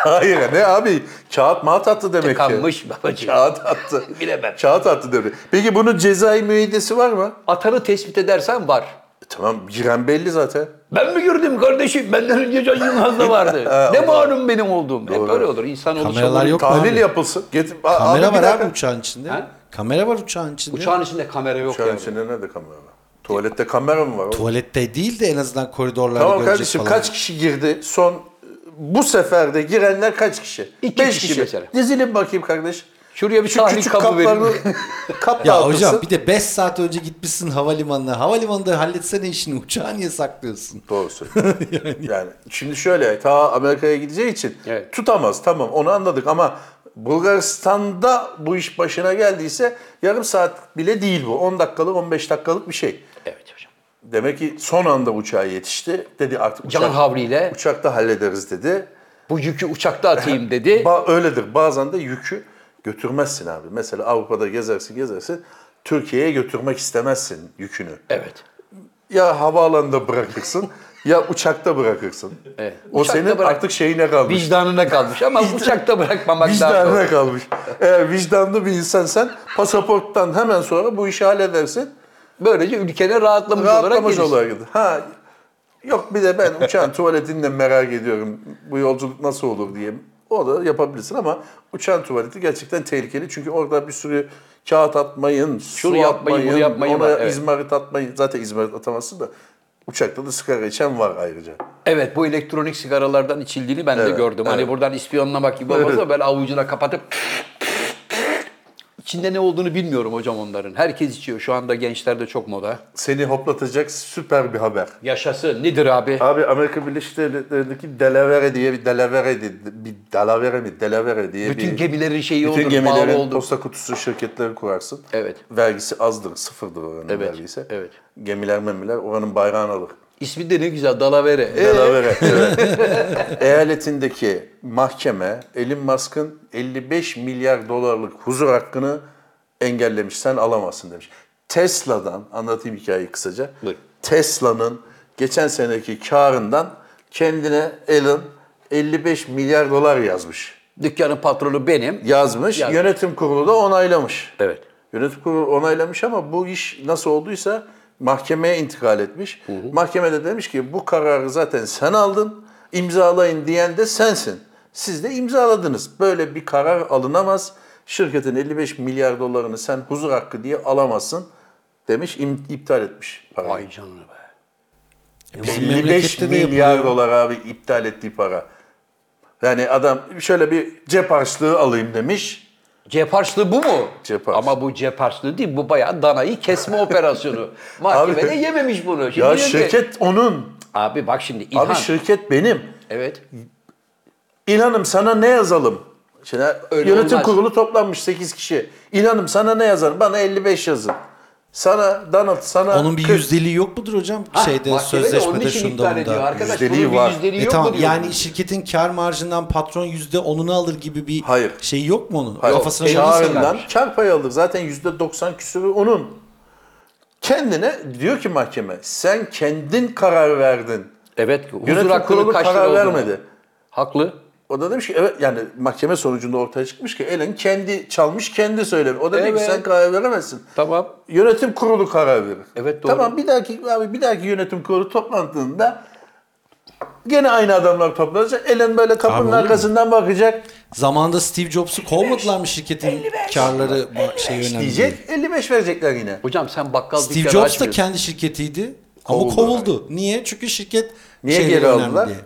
Speaker 2: Hayır ne abi? Kağıt mağat attı demek ki.
Speaker 1: Tıkanmış babacığım.
Speaker 2: Kağıt attı.
Speaker 1: Bilemem.
Speaker 2: Kağıt attı demek. Peki bunun cezai müeyyidesi var mı?
Speaker 1: Atanı tespit edersen var.
Speaker 2: E, tamam giren belli zaten.
Speaker 1: Ben mi gördüm kardeşim? Benden önce Can Yılmaz da vardı. ne malum benim olduğum. Hep böyle olur. İnsan
Speaker 3: Kameralar
Speaker 1: oluşuyor.
Speaker 3: yok.
Speaker 2: Tahlil
Speaker 3: abi.
Speaker 2: yapılsın. Getir, A-
Speaker 3: Kamera
Speaker 2: abi bir
Speaker 3: var abi
Speaker 2: dakika.
Speaker 3: uçağın içinde.
Speaker 1: Ha?
Speaker 3: Kamera var uçağın içinde.
Speaker 1: Uçağın içinde kamera yok
Speaker 2: Uçağın
Speaker 1: yani.
Speaker 2: içinde nerede kamera var? Tuvalette kamera mı var? oğlum?
Speaker 3: Tuvalette değil de en azından koridorlarda
Speaker 2: Tamam
Speaker 3: görecek
Speaker 2: kardeşim
Speaker 3: falan.
Speaker 2: kaç kişi girdi? Son bu sefer de girenler kaç kişi?
Speaker 1: İki
Speaker 2: Beş
Speaker 1: kişi mesela.
Speaker 2: Dizilin bakayım kardeş.
Speaker 1: Şuraya bir
Speaker 2: Şu
Speaker 1: tahrik
Speaker 2: küçük
Speaker 1: kabı
Speaker 2: kaplarını
Speaker 1: verin.
Speaker 2: kap
Speaker 3: Ya
Speaker 2: dağıtırsın.
Speaker 3: hocam bir de 5 saat önce gitmişsin havalimanına. Havalimanında halletsene işini. Uçağı niye saklıyorsun?
Speaker 2: Doğru söylüyorsun. yani. şimdi şöyle ta Amerika'ya gideceği için
Speaker 1: Evet.
Speaker 2: tutamaz tamam onu anladık ama Bulgaristan'da bu iş başına geldiyse yarım saat bile değil bu. 10 dakikalık 15 dakikalık bir şey.
Speaker 1: evet hocam.
Speaker 2: Demek ki son anda uçağa yetişti. Dedi artık uçak,
Speaker 1: Can havliyle
Speaker 2: uçakta hallederiz dedi.
Speaker 1: bu yükü uçakta atayım dedi.
Speaker 2: Ba- öyledir. Bazen de yükü götürmezsin abi. Mesela Avrupa'da gezersin gezersin. Türkiye'ye götürmek istemezsin yükünü.
Speaker 1: evet.
Speaker 2: Ya havaalanında bırakırsın ya uçakta bırakırsın.
Speaker 1: Evet.
Speaker 2: O
Speaker 1: Uçakta
Speaker 2: senin
Speaker 1: bırak.
Speaker 2: artık şeyine kalmış.
Speaker 1: Vicdanına kalmış ama uçakta bırakmamak lazım.
Speaker 2: Vicdanına kalmış. Eğer vicdanlı bir insansan pasaporttan hemen sonra bu işi halledersin.
Speaker 1: Böylece ülkene rahatlamış, olarak
Speaker 2: Rahatlamış
Speaker 1: gelirsin.
Speaker 2: olarak gidiyor. Ha Yok bir de ben uçağın tuvaletini de merak ediyorum. Bu yolculuk nasıl olur diye. O da yapabilirsin ama uçağın tuvaleti gerçekten tehlikeli. Çünkü orada bir sürü kağıt atmayın,
Speaker 1: Şunu
Speaker 2: su
Speaker 1: yapmayın, bunu yapmayın
Speaker 2: ona
Speaker 1: var, evet.
Speaker 2: izmarit atmayın. Zaten izmarit atamazsın da uçakta da sigara içen var ayrıca.
Speaker 1: Evet bu elektronik sigaralardan içildiğini ben de
Speaker 2: Evet,
Speaker 1: gördüm. Hani
Speaker 2: evet.
Speaker 1: buradan ispiyonlamak gibi olmaz
Speaker 2: Evet.
Speaker 1: da böyle avucuna kapatıp içinde ne olduğunu bilmiyorum hocam onların. Herkes içiyor. Şu anda gençlerde çok moda.
Speaker 2: Seni hoplatacak süper bir haber.
Speaker 1: Yaşası nedir abi?
Speaker 2: Abi Amerika Birleşik Devletleri'ndeki Delaware diye bir Delaware di- bir Delaware mi Delaware diye
Speaker 1: Bütün
Speaker 2: bir
Speaker 1: gemilerin şeyi
Speaker 2: bütün
Speaker 1: olur, bağlı
Speaker 2: gemilerin
Speaker 1: olur.
Speaker 2: posta kutusu şirketleri kurarsın.
Speaker 1: Evet.
Speaker 2: Vergisi azdır, sıfırdır oranın
Speaker 1: Evet,
Speaker 2: vergisi.
Speaker 1: evet.
Speaker 2: Gemiler memiler oranın bayrağını alır.
Speaker 1: İsmi de ne güzel Dalavere. Ee,
Speaker 2: Delaware. evet. Eyaletindeki mahkeme Elon Musk'ın 55 milyar dolarlık huzur hakkını engellemiş. Sen alamazsın demiş. Tesla'dan anlatayım hikayeyi kısaca.
Speaker 1: Buyur.
Speaker 2: Tesla'nın geçen seneki karından kendine Elon 55 milyar dolar yazmış.
Speaker 1: Dükkanın patronu benim.
Speaker 2: Yazmış,
Speaker 1: Yazmış.
Speaker 2: yönetim kurulu da onaylamış.
Speaker 1: Evet.
Speaker 2: Yönetim kurulu onaylamış ama bu iş nasıl olduysa mahkemeye intikal etmiş. Mahkemede demiş ki bu kararı zaten sen aldın, imzalayın diyen de sensin. Siz de imzaladınız. Böyle bir karar alınamaz. Şirketin 55 milyar dolarını sen huzur hakkı diye alamazsın demiş, im- iptal etmiş parayı.
Speaker 1: Vay canına be.
Speaker 3: Bizim
Speaker 2: 55
Speaker 3: memlekette de
Speaker 2: milyar
Speaker 3: yapılıyor.
Speaker 2: dolar abi iptal ettiği para. Yani adam şöyle bir cep harçlığı alayım demiş.
Speaker 1: Cep harçlığı bu mu?
Speaker 2: Cep harçlığı.
Speaker 1: Ama bu cep harçlığı değil, bu bayağı danayı kesme operasyonu. Mahkemede yememiş bunu. Şimdi
Speaker 2: Ya
Speaker 1: diyor ki-
Speaker 2: şirket onun.
Speaker 1: Abi bak şimdi İlhan.
Speaker 2: Abi şirket benim.
Speaker 1: Evet.
Speaker 2: İlhan'ım sana ne yazalım? Şimdi
Speaker 1: Öyle
Speaker 2: yönetim
Speaker 1: olmaz.
Speaker 2: kurulu toplanmış 8 kişi. İlhan'ım sana ne yazalım? Bana 55 yazın. Sana Donald sana
Speaker 3: Onun bir
Speaker 2: 40.
Speaker 3: yüzdeliği yok mudur hocam?
Speaker 1: Ha,
Speaker 3: Şeyde
Speaker 1: mahkemede onun
Speaker 3: sözleşmede
Speaker 1: için
Speaker 3: şunda
Speaker 1: iptal ediyor.
Speaker 3: bunda.
Speaker 1: Arkadaş
Speaker 2: Yüzdeliği
Speaker 1: bunun bir
Speaker 2: var.
Speaker 1: yüzdeliği
Speaker 3: E
Speaker 1: yok mu
Speaker 3: tamam
Speaker 1: diyor.
Speaker 3: yani şirketin kar marjından patron yüzde onunu alır gibi bir
Speaker 2: Hayır.
Speaker 3: şey yok mu onun?
Speaker 2: Hayır,
Speaker 3: Kafasına
Speaker 1: Yok,
Speaker 3: göre-
Speaker 1: çağırın.
Speaker 2: Çağrı'ndan
Speaker 1: çıkarmış.
Speaker 2: kar payı alır. Zaten %90 küsürü onun. Kendine diyor ki mahkeme sen kendin karar verdin.
Speaker 1: Evet. Huzur
Speaker 2: Yönetim
Speaker 1: hakkının
Speaker 2: kurulu
Speaker 1: kaç
Speaker 2: karar
Speaker 1: lira olduğunu.
Speaker 2: vermedi.
Speaker 1: Haklı.
Speaker 2: O da demiş ki evet yani mahkeme sonucunda ortaya çıkmış ki Elen kendi çalmış kendi söylemiş. O da diyor ki
Speaker 1: Evet.
Speaker 2: sen karar veremezsin.
Speaker 1: Tamam.
Speaker 2: Yönetim kurulu karar verir.
Speaker 1: Evet, doğru.
Speaker 2: Tamam bir dahaki abi bir dahaki yönetim kurulu toplantısında gene aynı adamlar toplanacak. Elen böyle kapının
Speaker 3: olur mu?
Speaker 2: arkasından bakacak.
Speaker 3: Zamanında Steve Jobs'u kovmadılar mı şirketin karları ba- şey önemli değil.
Speaker 2: Diyecek 55 verecekler yine.
Speaker 1: Hocam sen bakkal
Speaker 3: Steve
Speaker 1: dükkanı
Speaker 3: Jobs da
Speaker 1: açmıyorsun.
Speaker 3: kendi şirketiydi ama
Speaker 2: Kovuldu.
Speaker 3: kovuldu. Niye? Çünkü şirket
Speaker 2: Niye
Speaker 3: şeyleri
Speaker 2: geri
Speaker 3: Şey önemli
Speaker 2: aldılar?
Speaker 3: diye.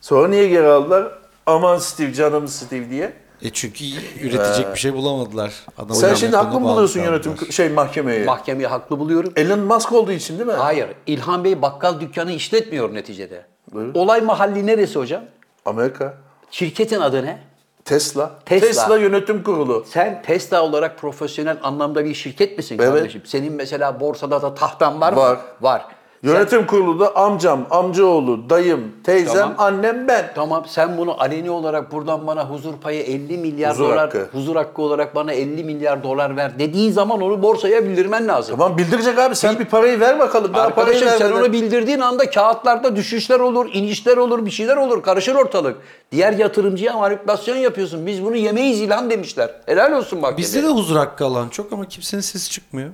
Speaker 2: Sonra niye geri aldılar? Aman Steve canım Steve diye.
Speaker 3: E çünkü üretecek bir şey bulamadılar. Adam
Speaker 2: Ee, Sen
Speaker 3: önemli
Speaker 2: şimdi
Speaker 3: konuda
Speaker 2: haklı mı
Speaker 3: bağlı
Speaker 2: buluyorsun
Speaker 3: kaldılar.
Speaker 2: yönetim şey mahkemeyi?
Speaker 1: Mahkemeyi haklı buluyorum.
Speaker 2: Elon Musk olduğu için değil mi?
Speaker 1: Hayır. İlhan Bey bakkal dükkanı işletmiyor neticede. Olay mahalli neresi hocam?
Speaker 2: Amerika.
Speaker 1: Şirketin adı ne?
Speaker 2: Tesla.
Speaker 1: Tesla.
Speaker 2: Tesla. yönetim kurulu.
Speaker 1: Sen Tesla olarak profesyonel anlamda bir şirket misin
Speaker 2: Evet.
Speaker 1: kardeşim? Senin mesela borsada da tahtan var mı?
Speaker 2: Var.
Speaker 1: Var. Sen-
Speaker 2: Yönetim kurulu da amcam, amcaoğlu, dayım, teyzem,
Speaker 1: Tamam.
Speaker 2: annem ben.
Speaker 1: Tamam sen bunu aleni olarak buradan bana huzur payı 50 milyar
Speaker 2: Huzur
Speaker 1: dolar,
Speaker 2: hakkı.
Speaker 1: huzur hakkı olarak bana 50 milyar dolar ver dediğin zaman onu borsaya bildirmen lazım.
Speaker 2: Tamam bildirecek abi sen bir parayı ver bakalım. Daha parayı
Speaker 1: Arkadaşım
Speaker 2: ver.
Speaker 1: sen
Speaker 2: bana.
Speaker 1: onu bildirdiğin anda kağıtlarda düşüşler olur, inişler olur, bir şeyler olur. Karışır ortalık. Diğer yatırımcıya manipülasyon yapıyorsun. Biz bunu yemeyiz ilan demişler. Helal olsun bak.
Speaker 3: Bizde de huzur hakkı alan çok ama kimsenin sesi çıkmıyor.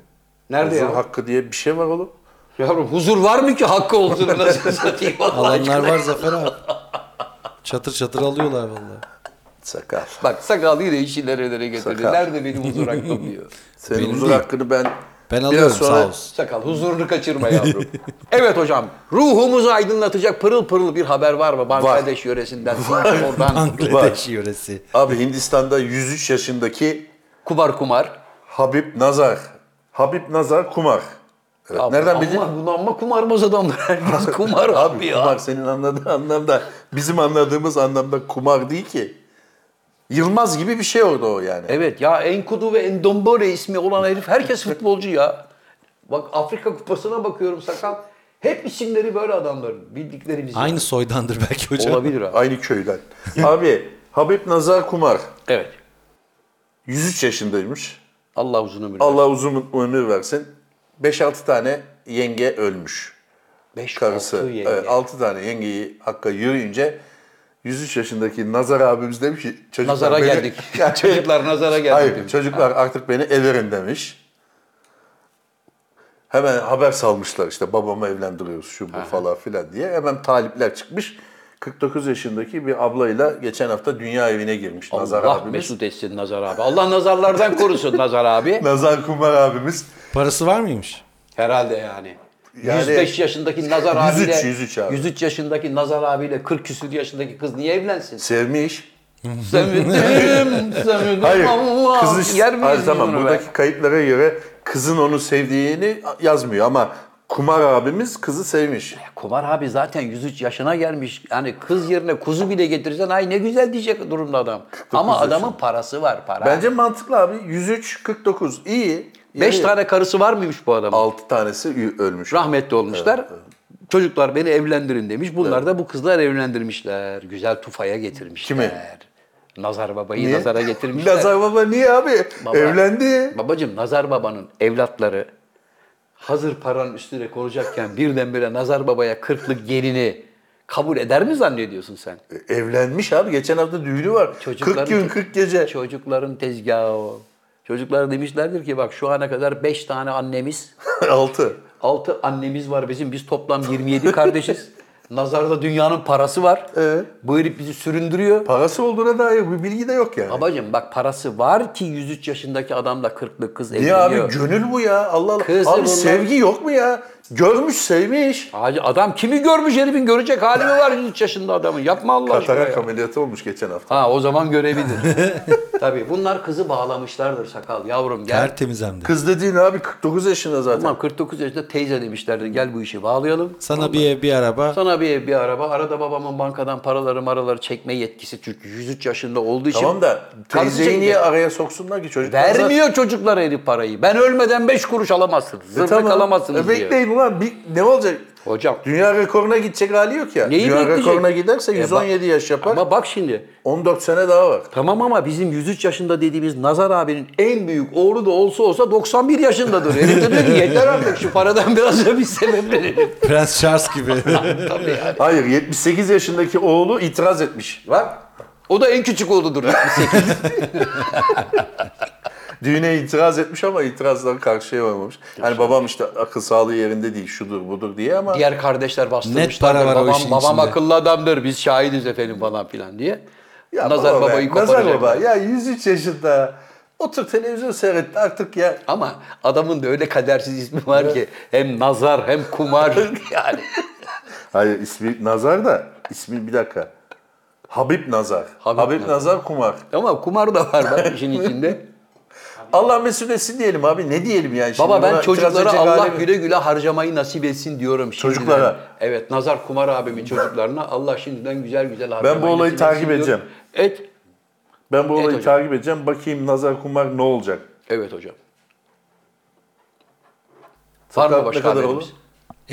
Speaker 1: Nerede
Speaker 2: Huzur
Speaker 1: ya?
Speaker 2: hakkı diye bir şey var oğlum.
Speaker 1: Yavrum huzur var mı ki hakkı olduğunu nasıl satayım Allah
Speaker 3: Alanlar
Speaker 1: aşkına.
Speaker 3: var Zafer abi. Çatır çatır alıyorlar vallahi.
Speaker 2: Sakal.
Speaker 1: Bak sakalı yine işler ödere getirdi.
Speaker 2: Sakal.
Speaker 1: Nerede benim huzur hakkım diyor.
Speaker 2: Senin
Speaker 3: Benim
Speaker 2: huzur
Speaker 3: değil.
Speaker 2: hakkını ben
Speaker 3: Ben
Speaker 2: biraz
Speaker 3: alıyorum
Speaker 2: sonra
Speaker 3: sağ olsun.
Speaker 1: Sakal huzurunu kaçırma yavrum. evet hocam ruhumuzu aydınlatacak pırıl pırıl bir haber var mı? Bangladeş yöresinden, Singapur'dan
Speaker 3: Bangladeş yöresi.
Speaker 2: Abi Hindistan'da 103 yaşındaki
Speaker 1: kumar kumar.
Speaker 2: Habib Nazar. Habib Nazar kumar. Evet,
Speaker 1: Ya
Speaker 2: nereden
Speaker 1: bu
Speaker 2: bildin?
Speaker 1: amma- bu amma kumarbaz adamlar. Herkes kumar abi ya.
Speaker 2: Kumar senin anladığın anlamda bizim anladığımız anlamda kumar değil ki. Yılmaz gibi bir şey orada o yani.
Speaker 1: Evet ya Enkudu ve Endombore ismi olan herif herkes futbolcu ya. Bak Afrika Kupası'na bakıyorum sakal. Hep isimleri böyle adamların bildiklerimiz.
Speaker 3: Aynı soydandır belki hocam.
Speaker 1: Olabilir abi.
Speaker 2: Aynı köyden. Abi Habib Nazar kumar.
Speaker 1: Evet.
Speaker 2: 103 yaşındaymış.
Speaker 1: Allah uzun ömür. versin.
Speaker 2: Allah uzun ömür versin. 5-6 tane yenge ölmüş.
Speaker 1: Beş
Speaker 2: Karısı.
Speaker 1: altı yenge.
Speaker 2: Evet, 6 tane yengeyi hakka yürüyünce 103 yaşındaki Nazar abimiz demiş ki çocuklar
Speaker 1: Nazara
Speaker 2: beni-
Speaker 1: geldik. Çocuklar nazara geldik.
Speaker 2: Hayır,
Speaker 1: demiş.
Speaker 2: çocuklar artık beni everin demiş. Hemen haber salmışlar işte babamı evlendiriyoruz şu bu falan filan diye. Hemen talipler çıkmış. 49 yaşındaki bir ablayla geçen hafta dünya evine girmiş Nazar
Speaker 1: Allah
Speaker 2: abimiz.
Speaker 1: Ah, mesut etsin Nazar abi. Allah nazarlardan korusun Nazar abi.
Speaker 2: Nazar Kumar abimiz.
Speaker 3: Parası var mıymış?
Speaker 1: Herhalde yani.
Speaker 2: Yani-
Speaker 1: 105 yaşındaki Nazar
Speaker 2: 103,
Speaker 1: abiyle
Speaker 2: 103 abi.
Speaker 1: 103 yaşındaki Nazar abiyle 40 küsür yaşındaki kız niye evlensin?
Speaker 2: Sevmiş.
Speaker 1: Sevdim, sevdim
Speaker 2: Hayır.
Speaker 1: ama
Speaker 2: Kızın
Speaker 1: yer miyiz
Speaker 2: Hayır,
Speaker 1: biz
Speaker 2: tamam
Speaker 1: bunu be?
Speaker 2: buradaki kayıtlara göre kızın onu sevdiğini yazmıyor ama Kumar abimiz kızı sevmiş.
Speaker 1: Kumar abi zaten 103 yaşına gelmiş. Yani kız yerine kuzu bile getirsen ay ne güzel diyecek durumda adam. Ama
Speaker 2: yaşında.
Speaker 1: adamın parası var para.
Speaker 2: Bence mantıklı abi. 103 49 iyi.
Speaker 1: 5 tane karısı var mıymış bu adamın?
Speaker 2: 6 tanesi ü- ölmüş.
Speaker 1: Rahmetli olmuşlar. Çocuklar beni evlendirin demiş. Bunlar da bu kızlar evlendirmişler. Güzel tufaya getirmişler.
Speaker 2: Kimi?
Speaker 1: Nazar babayı
Speaker 2: Niye?
Speaker 1: nazara getirmişler.
Speaker 2: Lazar baba niye abi?
Speaker 1: Baba.
Speaker 2: Evlendi.
Speaker 1: Babacım Nazar babanın evlatları hazır paranın üstüne konacakken birdenbire Nazar babaya kırklık gelini kabul eder mi zannediyorsun sen?
Speaker 2: Evlenmiş abi. Geçen hafta düğünü var. 40 gün 40 gece.
Speaker 1: Çocukların tezgahı o. Çocuklar demişlerdir ki bak şu ana kadar 5 tane annemiz
Speaker 2: 6.
Speaker 1: 6 annemiz var bizim. Biz toplam 27 kardeşiz. Nazarda dünyanın parası var.
Speaker 2: Evet.
Speaker 1: Bu herif bizi süründürüyor.
Speaker 2: Ee? Parası olduğuna dair bir bilgi de yok yani.
Speaker 1: Babacım bak parası var ki 103 yaşındaki adamla 40'lık kız
Speaker 2: Niye abi
Speaker 1: evleniyor.
Speaker 2: gönül bu ya Allah Allah.
Speaker 1: Kızım
Speaker 2: abi
Speaker 1: bunlar-
Speaker 2: sevgi yok mu ya? Görmüş sevmiş.
Speaker 1: Hacı adam kimi görmüş herifin görecek hali mi var 103 yaşında adamın? Yapma Allah aşkına.
Speaker 2: Katarak
Speaker 1: ya.
Speaker 2: ameliyatı olmuş geçen hafta.
Speaker 1: Ha o zaman görebilir. Tabii bunlar kızı bağlamışlardır sakal yavrum gel.
Speaker 3: Tertemiz hem de.
Speaker 2: Kız dediğin abi 49 yaşında zaten.
Speaker 1: Tamam 49 yaşında teyze demişlerdir gel bu işi bağlayalım.
Speaker 3: Sana bir ev, bir araba.
Speaker 1: Sana bir ev, bir araba. Arada babamın bankadan paraları maraları çekme yetkisi çünkü 103 yaşında olduğu için.
Speaker 2: Tamam da
Speaker 1: karısı
Speaker 2: teyzeyi
Speaker 1: çekti.
Speaker 2: niye araya soksunlar ki çocuklar? zaten-
Speaker 1: Vermiyor çocuklara herif parayı. Ben ölmeden 5 kuruş alamazsınız. Zırnık alamazsınız
Speaker 2: E
Speaker 1: diyor.
Speaker 2: Bekleyin ulan bir- ne olacak?
Speaker 1: Hocam.
Speaker 2: Dünya rekoruna gidecek hali yok ya.
Speaker 1: Neyi
Speaker 2: Dünya
Speaker 1: bekleyecek?
Speaker 2: rekoruna giderse
Speaker 1: E bak-
Speaker 2: 117 yaş yapar.
Speaker 1: Ama bak şimdi
Speaker 2: 14 sene daha var.
Speaker 1: Tamam ama bizim 103 yaşında dediğimiz Nazar abinin en büyük oğlu da olsa olsa 91 yaşındadır. Herif de diyor ki yeter artık şu paradan biraz da bir sebep verelim.
Speaker 3: Prens Charles gibi.
Speaker 1: Tabii yani.
Speaker 2: Hayır 78 yaşındaki oğlu itiraz etmiş.
Speaker 1: Bak o da en küçük oğludur 78.
Speaker 2: Düğüne itiraz etmiş ama itirazları karşıya olmamış. Hani babam işte akıl sağlığı yerinde değil şudur budur diye ama
Speaker 1: Diğer kardeşler
Speaker 3: Net para
Speaker 1: bastırmışlardır.
Speaker 3: var o
Speaker 1: Babam,
Speaker 3: işin
Speaker 1: babam
Speaker 3: içinde.
Speaker 1: akıllı adamdır biz şahidiz efendim falan filan diye.
Speaker 2: Ya
Speaker 1: Nazar
Speaker 2: baba be,
Speaker 1: babayı koparacak.
Speaker 2: Nazar baba ya 103 yaşında otur televizyon seyret artık ya.
Speaker 1: Ama adamın da öyle kadersiz ismi var ki hem nazar hem kumar yani.
Speaker 2: Hayır ismi Nazar da ismi bir dakika. Habib Nazar.
Speaker 1: Habib
Speaker 2: Habib,
Speaker 1: Nazar.
Speaker 2: Nazar. Kumar.
Speaker 1: Ama kumar da var bak işin içinde.
Speaker 2: Allah mesul etsin diyelim abi ne diyelim yani. Şimdi
Speaker 1: Baba
Speaker 2: buna
Speaker 1: ben
Speaker 2: itiraz
Speaker 1: çocuklara
Speaker 2: edecek
Speaker 1: Allah
Speaker 2: halim yok.
Speaker 1: güle güle harcamayı nasip etsin diyorum şimdiden.
Speaker 2: Çocuklara.
Speaker 1: Evet Nazar Kumar abimin çocuklarına Allah şimdiden güzel güzel harcamayı
Speaker 2: bu olayı
Speaker 1: nasip
Speaker 2: takip
Speaker 1: etsin diyorum.
Speaker 2: edeceğim.
Speaker 1: Et.
Speaker 2: Ben bu olayı
Speaker 1: hocam.
Speaker 2: takip edeceğim bakayım Nazar Kumar ne olacak.
Speaker 1: Evet hocam. Var mı
Speaker 2: Sakat
Speaker 1: başka
Speaker 2: ne kadar
Speaker 1: haberimiz?
Speaker 2: olur?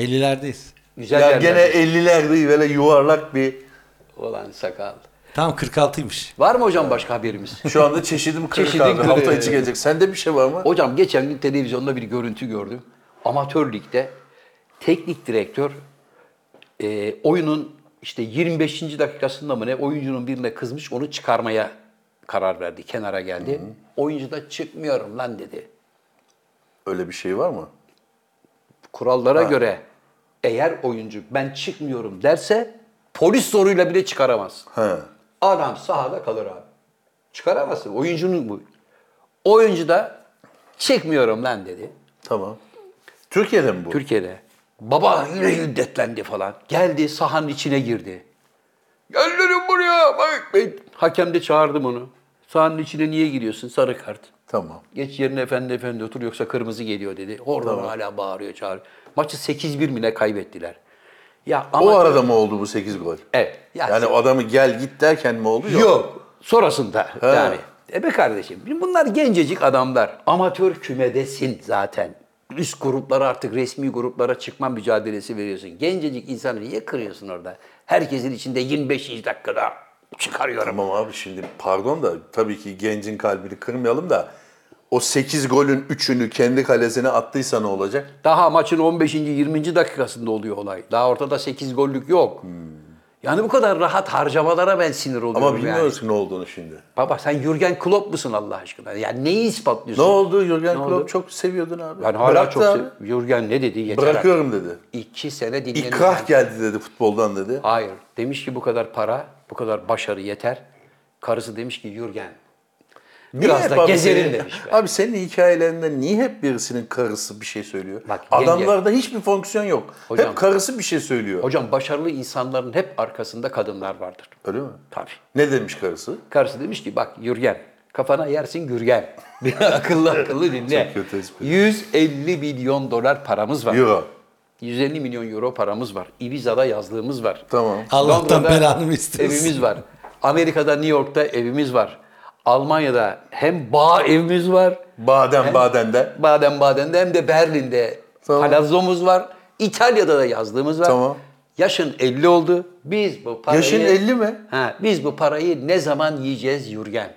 Speaker 3: 50'lerdeyiz.
Speaker 1: Güzel
Speaker 2: ya
Speaker 1: yerler.
Speaker 2: gene 50'lerde böyle yuvarlak bir
Speaker 1: Ulan sakal.
Speaker 3: Tam 46'ymış.
Speaker 1: Var mı hocam başka haberimiz?
Speaker 2: şu anda çeşidim kırık
Speaker 1: Çeşidim
Speaker 2: abi.
Speaker 1: kırık.
Speaker 2: Hafta içi gelecek. Sende bir şey var mı?
Speaker 1: Hocam geçen gün televizyonda bir görüntü gördüm. Amatör ligde teknik direktör e, oyunun işte 25. dakikasında mı ne oyuncunun birine kızmış onu çıkarmaya karar verdi. Kenara geldi. Oyuncu da çıkmıyorum lan dedi.
Speaker 2: Öyle bir şey var mı?
Speaker 1: Kurallara göre eğer oyuncu ben çıkmıyorum derse polis zoruyla bile çıkaramaz.
Speaker 2: He.
Speaker 1: Adam sahada kalır abi. Çıkaramazsın. Oyuncunun bu. Oyuncu da çıkmıyorum lan dedi.
Speaker 2: Tamam. Türkiye'de mi bu?
Speaker 1: Türkiye'de. Baba yine hiddetlendi falan. Geldi sahanın içine girdi. Gel dedim buraya. Bak. Ben- Hakem de çağırdım onu. Sahanın içine niye giriyorsun? Sarı kart.
Speaker 2: Tamam.
Speaker 1: Geç yerine efendi efendi otur yoksa kırmızı geliyor dedi. Oradan hala bağırıyor çağırıyor. Maçı 8-1 mi ne kaybettiler. Ya ama
Speaker 2: O arada mı oldu bu 8 gol?
Speaker 1: evet. Ya
Speaker 2: Yani o adamı gel git derken mi oldu?
Speaker 1: Yok. Sonrasında yani. E be kardeşim bunlar gencecik adamlar. Amatör kümedesin zaten. Üst gruplara artık resmi gruplara çıkma mücadelesi veriyorsun. Gencecik insanı niye kırıyorsun orada? Herkesin içinde 25. dakikada çıkarıyorum.
Speaker 2: Tamam abi şimdi pardon da tabii ki gencin kalbini kırmayalım da o 8 golün 3'ünü kendi kalesine attıysa ne olacak?
Speaker 1: Daha maçın 15. 20. dakikasında oluyor olay. Daha ortada 8 gollük yok. Yani bu kadar rahat harcamalara ben sinir oluyorum.
Speaker 2: Ama
Speaker 1: yani.
Speaker 2: bilmiyoruz ki ne olduğunu şimdi.
Speaker 1: Baba sen Jürgen Klopp musun Allah aşkına? Yani neyi ispatlıyorsun?
Speaker 2: Ne oldu? Jürgen
Speaker 1: Ne oldu?
Speaker 2: Klopp çok seviyordun abi.
Speaker 1: Ben hala
Speaker 2: Bıraktı
Speaker 1: çok
Speaker 2: abi.
Speaker 1: sev- Jürgen ne dedi? Yeter artık.
Speaker 2: Bırakıyorum dedi.
Speaker 1: İki sene dinlenir.
Speaker 2: İkrah geldi dedi futboldan dedi.
Speaker 1: Hayır. Demiş ki bu kadar para, bu kadar başarı yeter. Karısı demiş ki Jürgen. Biraz
Speaker 2: Niye
Speaker 1: da
Speaker 2: hep abi
Speaker 1: gezerim
Speaker 2: senin-
Speaker 1: demiş. be.
Speaker 2: Abi senin hikayelerinde niye hep birisinin karısı bir şey söylüyor?
Speaker 1: Bak, yenge-
Speaker 2: Adamlarda hiçbir fonksiyon yok.
Speaker 1: Hocam-
Speaker 2: hep karısı bir şey söylüyor.
Speaker 1: Hocam başarılı insanların hep arkasında kadınlar vardır.
Speaker 2: Öyle mi?
Speaker 1: Tabii.
Speaker 2: Ne demiş karısı?
Speaker 1: Karısı demiş ki bak Jürgen kafana yersin Gürgen. Bir akıllı akıllı dinle.
Speaker 2: Çok kötü espri.
Speaker 1: 150 milyon dolar paramız var.
Speaker 2: Euro.
Speaker 1: 150 milyon euro paramız var. Ibiza'da yazlığımız var.
Speaker 2: Tamam.
Speaker 3: Allah'tan
Speaker 1: Londra'da
Speaker 3: belanı mı istiyorsun?
Speaker 1: Evimiz var. Amerika'da New York'ta evimiz var. Almanya'da hem bağ evimiz var.
Speaker 2: Badem badende.
Speaker 1: Baden-Baden'de hem de Berlin'de
Speaker 2: Tamam.
Speaker 1: palazzomuz var. İtalya'da da yazdığımız var.
Speaker 2: Tamam.
Speaker 1: Yaşın 50 oldu. Biz bu parayı...
Speaker 2: Yaşın 50 mi?
Speaker 1: Ha, biz bu parayı ne zaman yiyeceğiz Yürgen?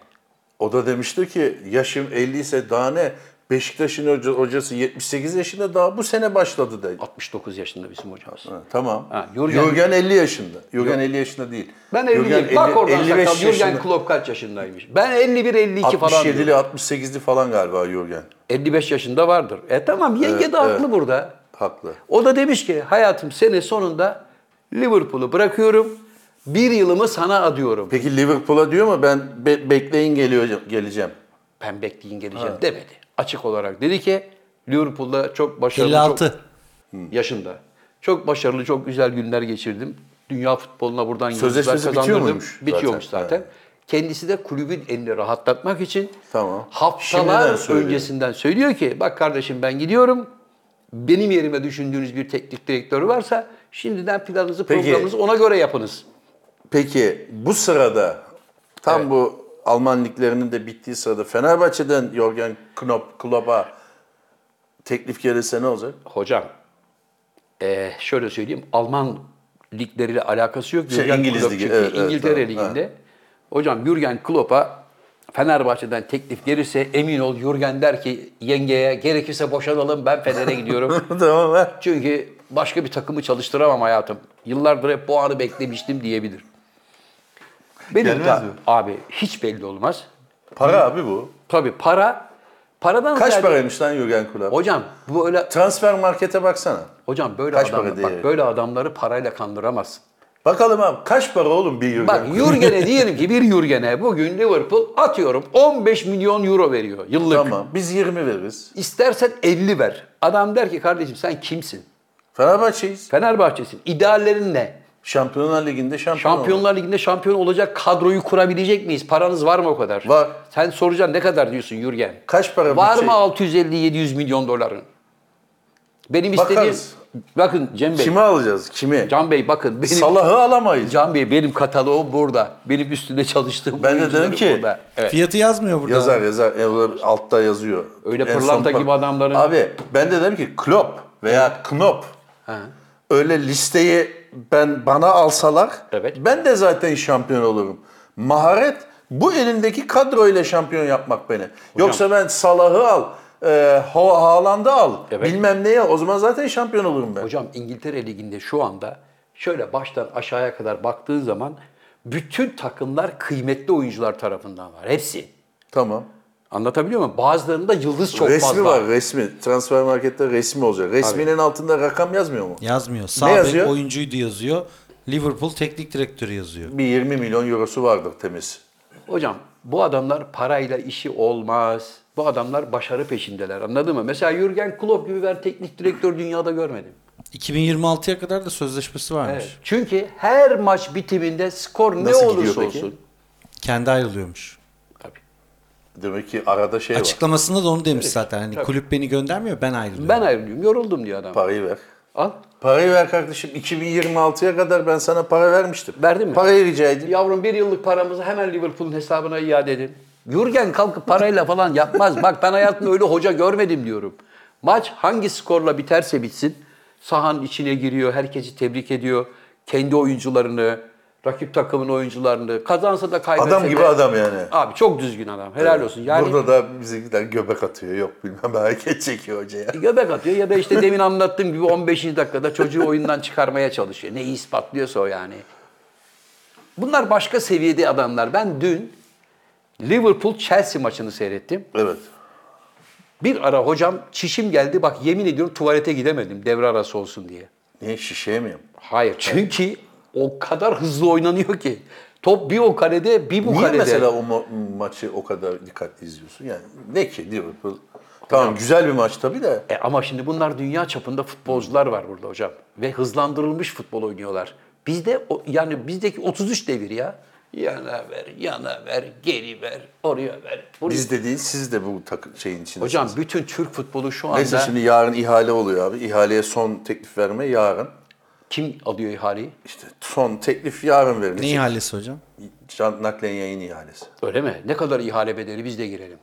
Speaker 2: O da demişti ki yaşım 50 ise daha ne? Beşiktaş'ın hoca- hocası 78 yaşında daha bu sene başladı dedi.
Speaker 1: 69 yaşında bizim hocamız.
Speaker 2: Ha, Tamam.
Speaker 1: Ha, Jürgen-
Speaker 2: Jürgen, 50 yaşında. Jürgen 50 yaşında değil.
Speaker 1: Ben 50'yim.
Speaker 2: Jürgen
Speaker 1: Bak
Speaker 2: 50
Speaker 1: oradan
Speaker 2: 55
Speaker 1: sakal. Jürgen
Speaker 2: yaşında.
Speaker 1: Klopp kaç yaşındaymış? Ben 51-52 falan.
Speaker 2: 67'li
Speaker 1: diyorum.
Speaker 2: 68'li falan galiba Jürgen.
Speaker 1: 55 yaşında vardır. E tamam yenge de haklı burada.
Speaker 2: Haklı.
Speaker 1: O da demiş ki hayatım sene sonunda Liverpool'u bırakıyorum. Bir yılımı sana adıyorum.
Speaker 2: Peki Liverpool'a diyor mu ben be- bekleyin geliyor geleceğim.
Speaker 1: Ben bekleyin geleceğim demedi. Açık olarak dedi ki Liverpool'da çok başarılı.
Speaker 3: 56.
Speaker 2: Hmm.
Speaker 1: Çok, yaşında. Çok başarılı, çok güzel günler geçirdim. Dünya futboluna buradan yıldızlar
Speaker 2: Sözleşmesi bitiyor
Speaker 1: kazandırdım.
Speaker 2: muymuş zaten?
Speaker 1: Bitiyormuş zaten.
Speaker 2: Ha.
Speaker 1: Kendisi de kulübün elini rahatlatmak için
Speaker 2: Tamam. Şimdiden
Speaker 1: haftalar
Speaker 2: söylüyor.
Speaker 1: öncesinden söylüyor ki bak kardeşim ben gidiyorum. Benim yerime düşündüğünüz bir teknik direktörü varsa şimdiden planınızı,
Speaker 2: Peki.
Speaker 1: programınızı ona göre yapınız.
Speaker 2: Peki bu sırada tam bu Alman liglerinin de bittiği sırada Fenerbahçe'den Jürgen Klopp, Klopp'a teklif gelirse ne olacak?
Speaker 1: Hocam, eee, şöyle söyleyeyim, Alman ligleriyle alakası yok.
Speaker 2: Şey,
Speaker 1: Jürgen
Speaker 2: İngiliz
Speaker 1: Klopp
Speaker 2: ligi,
Speaker 1: çünkü
Speaker 2: evet, evet,
Speaker 1: İngiltere
Speaker 2: tamam,
Speaker 1: liginde. Hocam Jürgen Klopp'a Fenerbahçe'den teklif gelirse emin ol Jürgen der ki yengeye gerekirse boşanalım ben Fener'e gidiyorum.
Speaker 2: tamam ha.
Speaker 1: Çünkü başka bir takımı çalıştıramam hayatım. Yıllardır hep bu anı beklemiştim diyebilir. Benim
Speaker 2: Gelmez
Speaker 1: ta-
Speaker 2: mi?
Speaker 1: abi hiç belli olmaz.
Speaker 2: Para abi bu.
Speaker 1: Tabii para paradan
Speaker 2: Kaç
Speaker 1: ziyade-
Speaker 2: paraymış lan Jürgen Klopp?
Speaker 1: Hocam bu öyle
Speaker 2: Transfer markete baksana.
Speaker 1: Hocam böyle
Speaker 2: Kaç
Speaker 1: adam-
Speaker 2: para
Speaker 1: bak
Speaker 2: değeri?
Speaker 1: böyle adamları parayla kandıramazsın.
Speaker 2: Bakalım abi kaç para oğlum bir Jürgen
Speaker 1: Bak
Speaker 2: Klopp?
Speaker 1: Jürgen'e diyelim ki bir Jürgen'e bugün Liverpool atıyorum 15 milyon euro veriyor yıllık.
Speaker 2: Tamam biz 20 veririz.
Speaker 1: İstersen 50 ver. Adam der ki kardeşim sen kimsin?
Speaker 2: Fenerbahçe'yiz.
Speaker 1: Fenerbahçe'sin. İdeallerin ne?
Speaker 2: Şampiyonlar Ligi'nde şampiyon olduk.
Speaker 1: Şampiyonlar Ligi'nde şampiyon olacak kadroyu kurabilecek miyiz? Paranız var mı o kadar?
Speaker 2: Var. Şey
Speaker 1: Sen soracaksın ne kadar diyorsun Jürgen?
Speaker 2: Kaç para
Speaker 1: Var
Speaker 2: bütçe?
Speaker 1: mı 650-700 milyon doların? Benim
Speaker 2: Bakarız.
Speaker 1: istediğim... Bakın Cem Bey,
Speaker 2: Kimi alacağız? Kimi?
Speaker 1: Can Bey bakın benim...
Speaker 2: Salah'ı alamayız.
Speaker 1: Can Bey benim kataloğum burada. Benim üstünde çalıştığım
Speaker 2: Ben de
Speaker 1: oyuncularım
Speaker 2: dedim ki-
Speaker 1: burada. Evet.
Speaker 3: Fiyatı yazmıyor burada.
Speaker 2: Yazar yazar. E, o da Altta yazıyor.
Speaker 1: Öyle
Speaker 2: En son
Speaker 1: pırlanta
Speaker 2: par-
Speaker 1: gibi adamların-
Speaker 2: Abi ben de dedim ki Klopp veya Knop. Öyle listeyi ben bana alsalar
Speaker 1: Evet.
Speaker 2: ben de zaten şampiyon olurum. Maharet bu elindeki kadroyla şampiyon yapmak beni. Yoksa ben Salah'ı al, e, Ha- Haaland'ı al,
Speaker 1: Evet.
Speaker 2: bilmem neye al. O zaman zaten şampiyon olurum ben.
Speaker 1: Hocam İngiltere Ligi'nde şu anda şöyle baştan aşağıya kadar baktığın zaman bütün takımlar kıymetli oyuncular tarafından var. Hepsi.
Speaker 2: Tamam.
Speaker 1: Anlatabiliyor muyum? Bazılarında yıldız çok
Speaker 2: resmi
Speaker 1: fazla.
Speaker 2: var resmi. Transfer markette resmi olacak. Resminin altında rakam yazmıyor mu?
Speaker 3: Yazmıyor. Sağ bek
Speaker 2: yazıyor?
Speaker 3: oyuncuydu yazıyor. Liverpool teknik direktörü yazıyor.
Speaker 2: Bir 20 milyon eurosu vardır temiz.
Speaker 1: Hocam bu adamlar parayla işi olmaz. Bu adamlar başarı peşindeler. Anladın mı? Mesela Jürgen Klopp gibi ben teknik direktör dünyada görmedim.
Speaker 3: 2026'ya kadar da sözleşmesi varmış.
Speaker 1: Evet. Çünkü her maç bitiminde skor
Speaker 2: Nasıl
Speaker 1: ne
Speaker 2: gidiyor
Speaker 1: olursa
Speaker 2: peki?
Speaker 1: olsun.
Speaker 3: Kendi ayrılıyormuş.
Speaker 1: Tabii.
Speaker 2: Demek ki arada şey var.
Speaker 3: Açıklamasında da onu demiş zaten. Hani kulüp beni göndermiyor ben ayrılıyorum.
Speaker 1: Ben ayrılıyorum. Yoruldum diyor adam.
Speaker 2: Parayı ver.
Speaker 1: Al.
Speaker 2: Parayı ver kardeşim. 2026'ya kadar ben sana para vermiştim.
Speaker 1: Verdin mi?
Speaker 2: Parayı rica edeyim.
Speaker 1: Yavrum bir yıllık paramızı hemen Liverpool'un hesabına iade edin. Jürgen kalkıp parayla falan yapmaz. Bak ben hayatımda öyle hoca görmedim diyorum. Maç hangi skorla biterse bitsin sahanın içine giriyor, herkesi tebrik ediyor. Kendi oyuncularını, rakip takımın oyuncularını. Kazansa da kaybetse
Speaker 2: Adam
Speaker 1: de-
Speaker 2: gibi adam yani.
Speaker 1: Abi çok düzgün adam. Helal olsun. Yani
Speaker 2: Burada da bizimkiler göbek atıyor. Yok bilmem hareket çekiyor hocaya.
Speaker 1: göbek atıyor ya da işte demin anlattığım gibi 15. dakikada çocuğu oyundan çıkarmaya çalışıyor. Ne ispatlıyorsa o yani. Bunlar başka seviyede adamlar. Ben dün Liverpool Chelsea maçını seyrettim.
Speaker 2: Evet.
Speaker 1: Bir ara hocam çişim geldi bak yemin ediyorum tuvalete gidemedim devre arası olsun diye.
Speaker 2: Niye şişeye mi?
Speaker 1: Hayır çünkü o kadar hızlı oynanıyor ki. Top bir o kalede bir bu
Speaker 2: Niye
Speaker 1: kalede.
Speaker 2: mesela o ma- maçı o kadar dikkatli izliyorsun? Yani ne ki Liverpool? Tamam güzel bir maç tabii de.
Speaker 1: E ama şimdi bunlar dünya çapında futbolcular var burada hocam ve hızlandırılmış futbol oynuyorlar. Bizde o- yani bizdeki 33 devir ya. Yana ver, yana ver, geri ver, oraya ver. buraya-
Speaker 2: Biz de değil siz de bu takı- şeyin içinde.
Speaker 1: Hocam bütün Türk futbolu şu anda
Speaker 2: Neyse şimdi yarın ihale oluyor abi. İhaleye son teklif verme yarın.
Speaker 1: kim alıyor ihaleyi?
Speaker 2: İşte son teklif yarın
Speaker 3: Ne
Speaker 2: verilecek.
Speaker 3: ihalesi hocam?
Speaker 2: Can naklen yayın ihalesi.
Speaker 1: Öyle mi? Ne kadar ihale bedeli biz de girelim.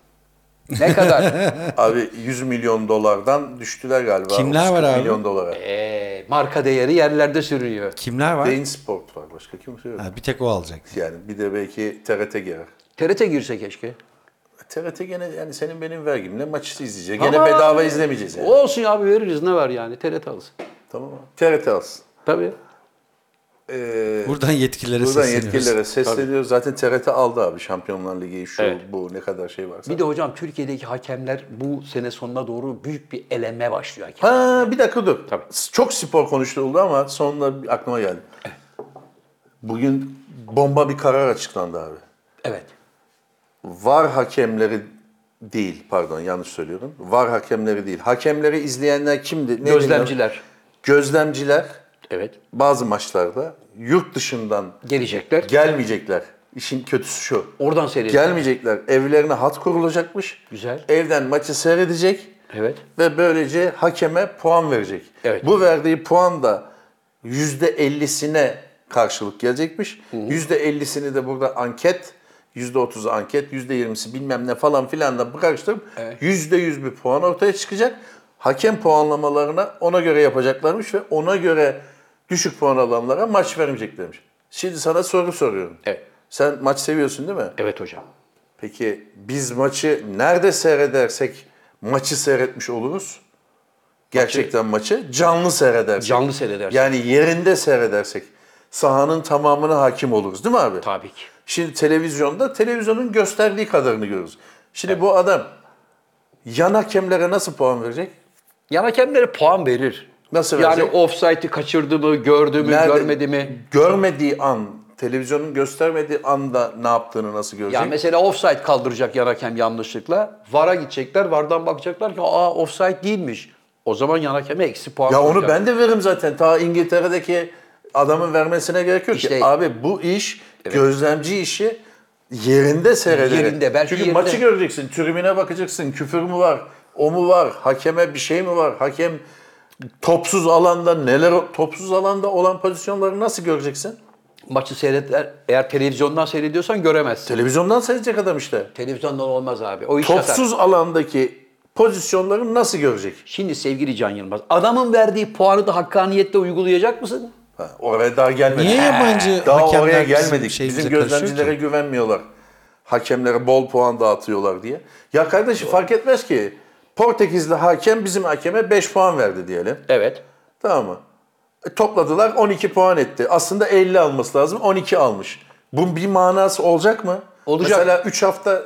Speaker 1: Ne kadar?
Speaker 2: Abi 100 milyon dolardan düştüler galiba.
Speaker 3: Kimler
Speaker 2: 30
Speaker 3: var abi?
Speaker 2: milyon dolara.
Speaker 1: Ee, marka değeri yerlerde sürünüyor.
Speaker 3: Kimler var?
Speaker 2: Bein Sport var. Başka kimse yok.
Speaker 3: Ha, bir tek o alacak.
Speaker 2: Yani bir de belki TRT girer.
Speaker 1: TRT girse keşke.
Speaker 2: TRT gene yani senin benim vergimle maçı izleyecek. Gene
Speaker 1: Ama-
Speaker 2: bedava izlemeyeceğiz yani.
Speaker 1: Olsun ya abi veririz ne var yani TRT alsın.
Speaker 2: Tamam mı? TRT alsın.
Speaker 1: Tabii.
Speaker 2: e,
Speaker 3: Buradan yetkililere
Speaker 2: buradan
Speaker 3: sesleniyoruz.
Speaker 2: yetkililere sesleniyoruz. Zaten TRT aldı abi Şampiyonlar Ligi şu
Speaker 4: Evet.
Speaker 2: bu ne kadar şey varsa.
Speaker 1: Bir de hocam Türkiye'deki hakemler bu sene sonuna doğru büyük bir eleme başlıyor hakemler.
Speaker 2: Ha bir dakika dur. Çok spor konuşuldu ama sonunda bir aklıma geldi. Bugün bomba bir karar açıklandı abi.
Speaker 1: Evet.
Speaker 2: VAR hakemleri değil pardon yanlış söylüyorum. VAR hakemleri değil. Hakemleri izleyenler kimdi? Ne
Speaker 1: Gözlemciler.
Speaker 2: Gözlemciler
Speaker 1: Evet.
Speaker 2: bazı maçlarda yurt dışından
Speaker 1: Gelecekler.
Speaker 2: gelmeyecekler. İşin kötüsü şu.
Speaker 1: Oradan seyredecekler.
Speaker 2: Gelmeyecekler. Evlerine hat kurulacakmış.
Speaker 1: Güzel.
Speaker 2: Evden maçı seyredecek.
Speaker 1: Evet.
Speaker 2: Ve böylece hakeme puan verecek.
Speaker 1: Evet.
Speaker 2: Bu verdiği puan da %50'sine karşılık gelecekmiş. %50'sini de burada anket, %30'u anket, %20'si bilmem ne falan filan da bırakıştırıp
Speaker 1: Evet.
Speaker 2: %100 bir puan ortaya çıkacak. Hakem puanlamalarına ona göre yapacaklarmış ve ona göre düşük puan alanlara maç vermeyeceklermiş. Şimdi sana soru soruyorum.
Speaker 1: Evet.
Speaker 2: Sen maç seviyorsun değil mi?
Speaker 1: Evet hocam.
Speaker 2: Peki biz maçı nerede seyredersek maçı seyretmiş oluruz? Gerçekten maçı canlı seyredersek.
Speaker 1: Canlı seyredersek.
Speaker 2: Yani yerinde seyredersek sahanın tamamına hakim oluruz değil mi abi?
Speaker 1: Tabii ki.
Speaker 2: Şimdi televizyonda televizyonun gösterdiği kadarını görürüz. Şimdi bu adam yan hakemlere nasıl puan verecek?
Speaker 1: Yan hakemlere puan verir.
Speaker 2: Nasıl
Speaker 1: yani
Speaker 2: verecek?
Speaker 1: offside'i kaçırdı mı, gördü mü,
Speaker 2: Nerede-
Speaker 1: görmedi mi?
Speaker 2: Görmediği an, televizyonun göstermediği anda ne yaptığını nasıl görecek?
Speaker 1: Ya mesela offside kaldıracak yan hakem yanlışlıkla. VAR'a gidecekler, VAR'dan bakacaklar ki aa offside değilmiş. O zaman yan hakeme eksi puan
Speaker 2: Ya onu
Speaker 1: olacak.
Speaker 2: ben de veririm zaten. Ta İngiltere'deki adamın vermesine gerek yok
Speaker 1: İşte-
Speaker 2: ki. Abi bu iş gözlemci işi yerinde seyrederek.
Speaker 1: Yerinde, belki
Speaker 2: Çünkü
Speaker 1: yerinde.
Speaker 2: maçı göreceksin, tribüne bakacaksın. Küfür mü var? O mu var? Hakeme bir şey mi var? Hakem topsuz alanda neler topsuz alanda olan pozisyonları nasıl göreceksin?
Speaker 1: Maçı seyretler, eğer televizyondan seyrediyorsan göremezsin.
Speaker 2: Televizyondan seyredecek adam işte.
Speaker 1: televizyondan olmaz abi. O iş yatar.
Speaker 2: Topsuz alandaki pozisyonları nasıl görecek?
Speaker 1: Şimdi sevgili Can Yılmaz, adamın verdiği puanı da hakkaniyetle uygulayacak mısın?
Speaker 2: Ha, oraya daha gelmedik.
Speaker 3: Niye yabancı
Speaker 2: daha
Speaker 3: hakemler
Speaker 2: oraya
Speaker 3: bizim
Speaker 2: gelmedik. Bizim,
Speaker 3: şeyimize karışıyor
Speaker 2: gözlemcilere güvenmiyorlar. Hakemlere bol puan dağıtıyorlar diye. Ya kardeşim fark etmez ki. Portekizli hakem bizim hakeme 5 puan verdi diyelim.
Speaker 1: Evet.
Speaker 2: Tamam mı? E, topladılar 12 puan etti. Aslında 50 alması lazım. 12 almış. Bunun bir manası olacak mı?
Speaker 1: Olacak.
Speaker 2: Mesela 3 hafta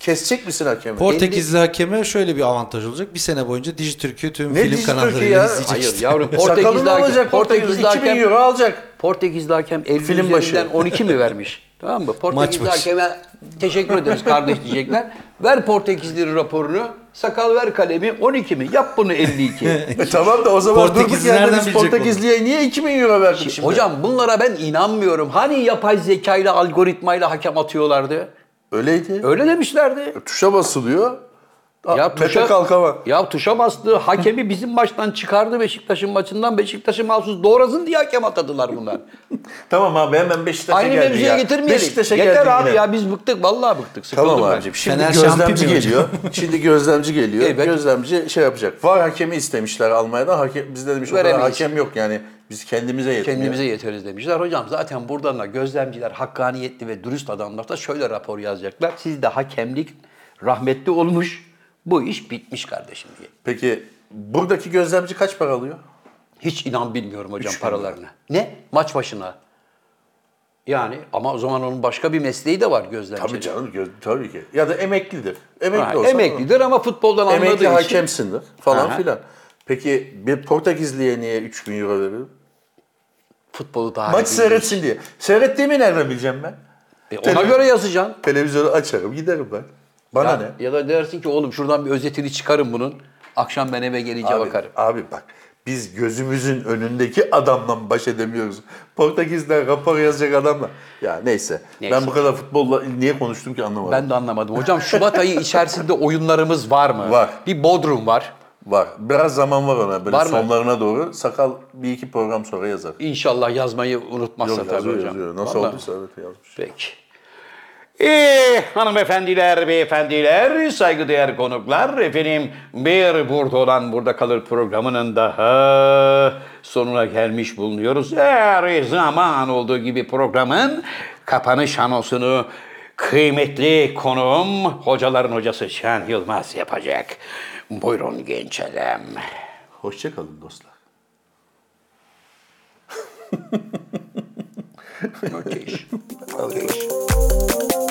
Speaker 2: kesecek misin hakemi?
Speaker 3: Portekizli hakeme şöyle bir avantaj olacak. Bir sene boyunca Dijitürk'ü tüm
Speaker 2: Ne
Speaker 3: film
Speaker 2: Dijitürk'ü
Speaker 3: kanallarıyla
Speaker 2: ya?
Speaker 3: izleyecek
Speaker 1: Hayır
Speaker 3: işte.
Speaker 1: yavrum.
Speaker 2: Sakalı
Speaker 1: Portekizli
Speaker 2: mı
Speaker 1: hakem,
Speaker 2: olacak? Portekiz
Speaker 1: Portekizli
Speaker 2: 2000
Speaker 1: hakem,
Speaker 2: euro alacak.
Speaker 1: Portekizli hakem 50
Speaker 2: Film başı.
Speaker 1: üzerinden 12 mi vermiş? Tamam mı? Portekizli
Speaker 3: başı.
Speaker 1: hakeme teşekkür ederiz kardeş diyecekler. Ver Portekizli raporunu. Sakal ver kalemi 12 mi? Yap bunu 52.
Speaker 2: E tamam da o zaman durduk
Speaker 3: Portekizli nereden
Speaker 2: yerde biz
Speaker 3: bilecek bunu?
Speaker 2: Portekizli'ye niye 2000 euro verdik şimdi?
Speaker 1: Hocam bunlara ben inanmıyorum. Hani yapay zekayla algoritmayla hakem atıyorlardı?
Speaker 2: Öyleydi.
Speaker 1: Öyle demişlerdi.
Speaker 2: Tuşa basılıyor. Ya tuşa kalkama.
Speaker 1: Ya tuşa bastı. Hakemi bizim maçtan çıkardı Beşiktaş'ın maçından. Beşiktaş'ın mahsus doğrasın diye hakem atadılar bunlar.
Speaker 2: Tamam abi hemen Beşiktaş'a
Speaker 1: Aynı
Speaker 2: geldi
Speaker 1: mevzuya
Speaker 2: ya.
Speaker 1: getirmeyelim.
Speaker 2: Beşiktaş'a
Speaker 1: Yeter
Speaker 2: geldi
Speaker 1: abi
Speaker 2: yine.
Speaker 1: ya biz bıktık. Vallahi bıktık. Sıkıldım
Speaker 2: Tamam
Speaker 1: ben.
Speaker 2: abicim. Şimdi
Speaker 3: Fener
Speaker 2: gözlemci
Speaker 3: şampiyon
Speaker 2: geliyor. Şimdi gözlemci geliyor.
Speaker 1: şey Evet.
Speaker 2: Gözlemci şey yapacak. Var hakemi istemişler Almanya'dan. Hakem, biz de demiş o kadar
Speaker 1: Veremeyiz.
Speaker 2: hakem yok yani. Biz kendimize yetmiyor.
Speaker 1: Kendimize yeteriz demişler. Hocam zaten buradan da gözlemciler hakkaniyetli ve dürüst adamlar da şöyle rapor yazacaklar. Sizde hakemlik rahmetli olmuş. Bu iş bitmiş kardeşim diye.
Speaker 2: Peki buradaki gözlemci kaç para alıyor?
Speaker 1: Hiç inan bilmiyorum hocam
Speaker 2: Üç bin
Speaker 1: paralarına. Ne? Maç başına. Yani ama o zaman onun başka bir mesleği de var gözlemci.
Speaker 2: Tabii canım göz, tabii ki. Ya da emeklidir. Emekli
Speaker 1: Ha,
Speaker 2: olsa
Speaker 1: emeklidir ama futboldan anladığı
Speaker 2: Emekli
Speaker 1: için.
Speaker 2: hakemsindir falan
Speaker 1: Aha.
Speaker 2: filan. Peki bir Portekizli'ye niye 3000 euro veririm?
Speaker 1: Futbolu daha
Speaker 2: Maç
Speaker 1: iyi
Speaker 2: seyretsin diye. Seyrettiğimi nereden bileceğim ben?
Speaker 1: bilir. E, ona göre yazacaksın.
Speaker 2: Televizyonu açarım giderim ben. Bana
Speaker 1: ya,
Speaker 2: ne?
Speaker 1: ya da dersin ki oğlum şuradan bir özetini çıkarın bunun. Akşam ben eve gelince bakarım.
Speaker 2: abi bak biz gözümüzün önündeki adamla baş edemiyoruz. Portekiz'den rapor yazacak adamla. Ya neyse.
Speaker 1: Neyse.
Speaker 2: Ben bu kadar futbolla niye konuştum ki anlamadım.
Speaker 1: Ben de anlamadım. Hocam Şubat ayı içerisinde oyunlarımız var mı?
Speaker 2: Var.
Speaker 1: Bir Bodrum var.
Speaker 2: Var. Biraz zaman var ona. Böyle
Speaker 1: Var mı?
Speaker 2: sonlarına doğru. Sakal bir iki program sonra yazar.
Speaker 1: İnşallah yazmayı unutmazsa
Speaker 2: Yok,
Speaker 1: tabii
Speaker 2: yazıyor,
Speaker 1: hocam.
Speaker 2: yazıyor. Nasıl
Speaker 1: Vallahi.
Speaker 2: olduysa evet yazmış.
Speaker 1: Peki.
Speaker 4: Ee, hanımefendiler, beyefendiler, saygıdeğer konuklar, efendim bir burada olan burada kalır programının daha sonuna gelmiş bulunuyoruz. Her zaman olduğu gibi programın kapanış anonsunu kıymetli konuğum hocaların hocası Şen Yılmaz yapacak. Buyurun genç adam.
Speaker 2: Hoşçakalın dostlar.
Speaker 5: Müthiş.
Speaker 1: Alkış.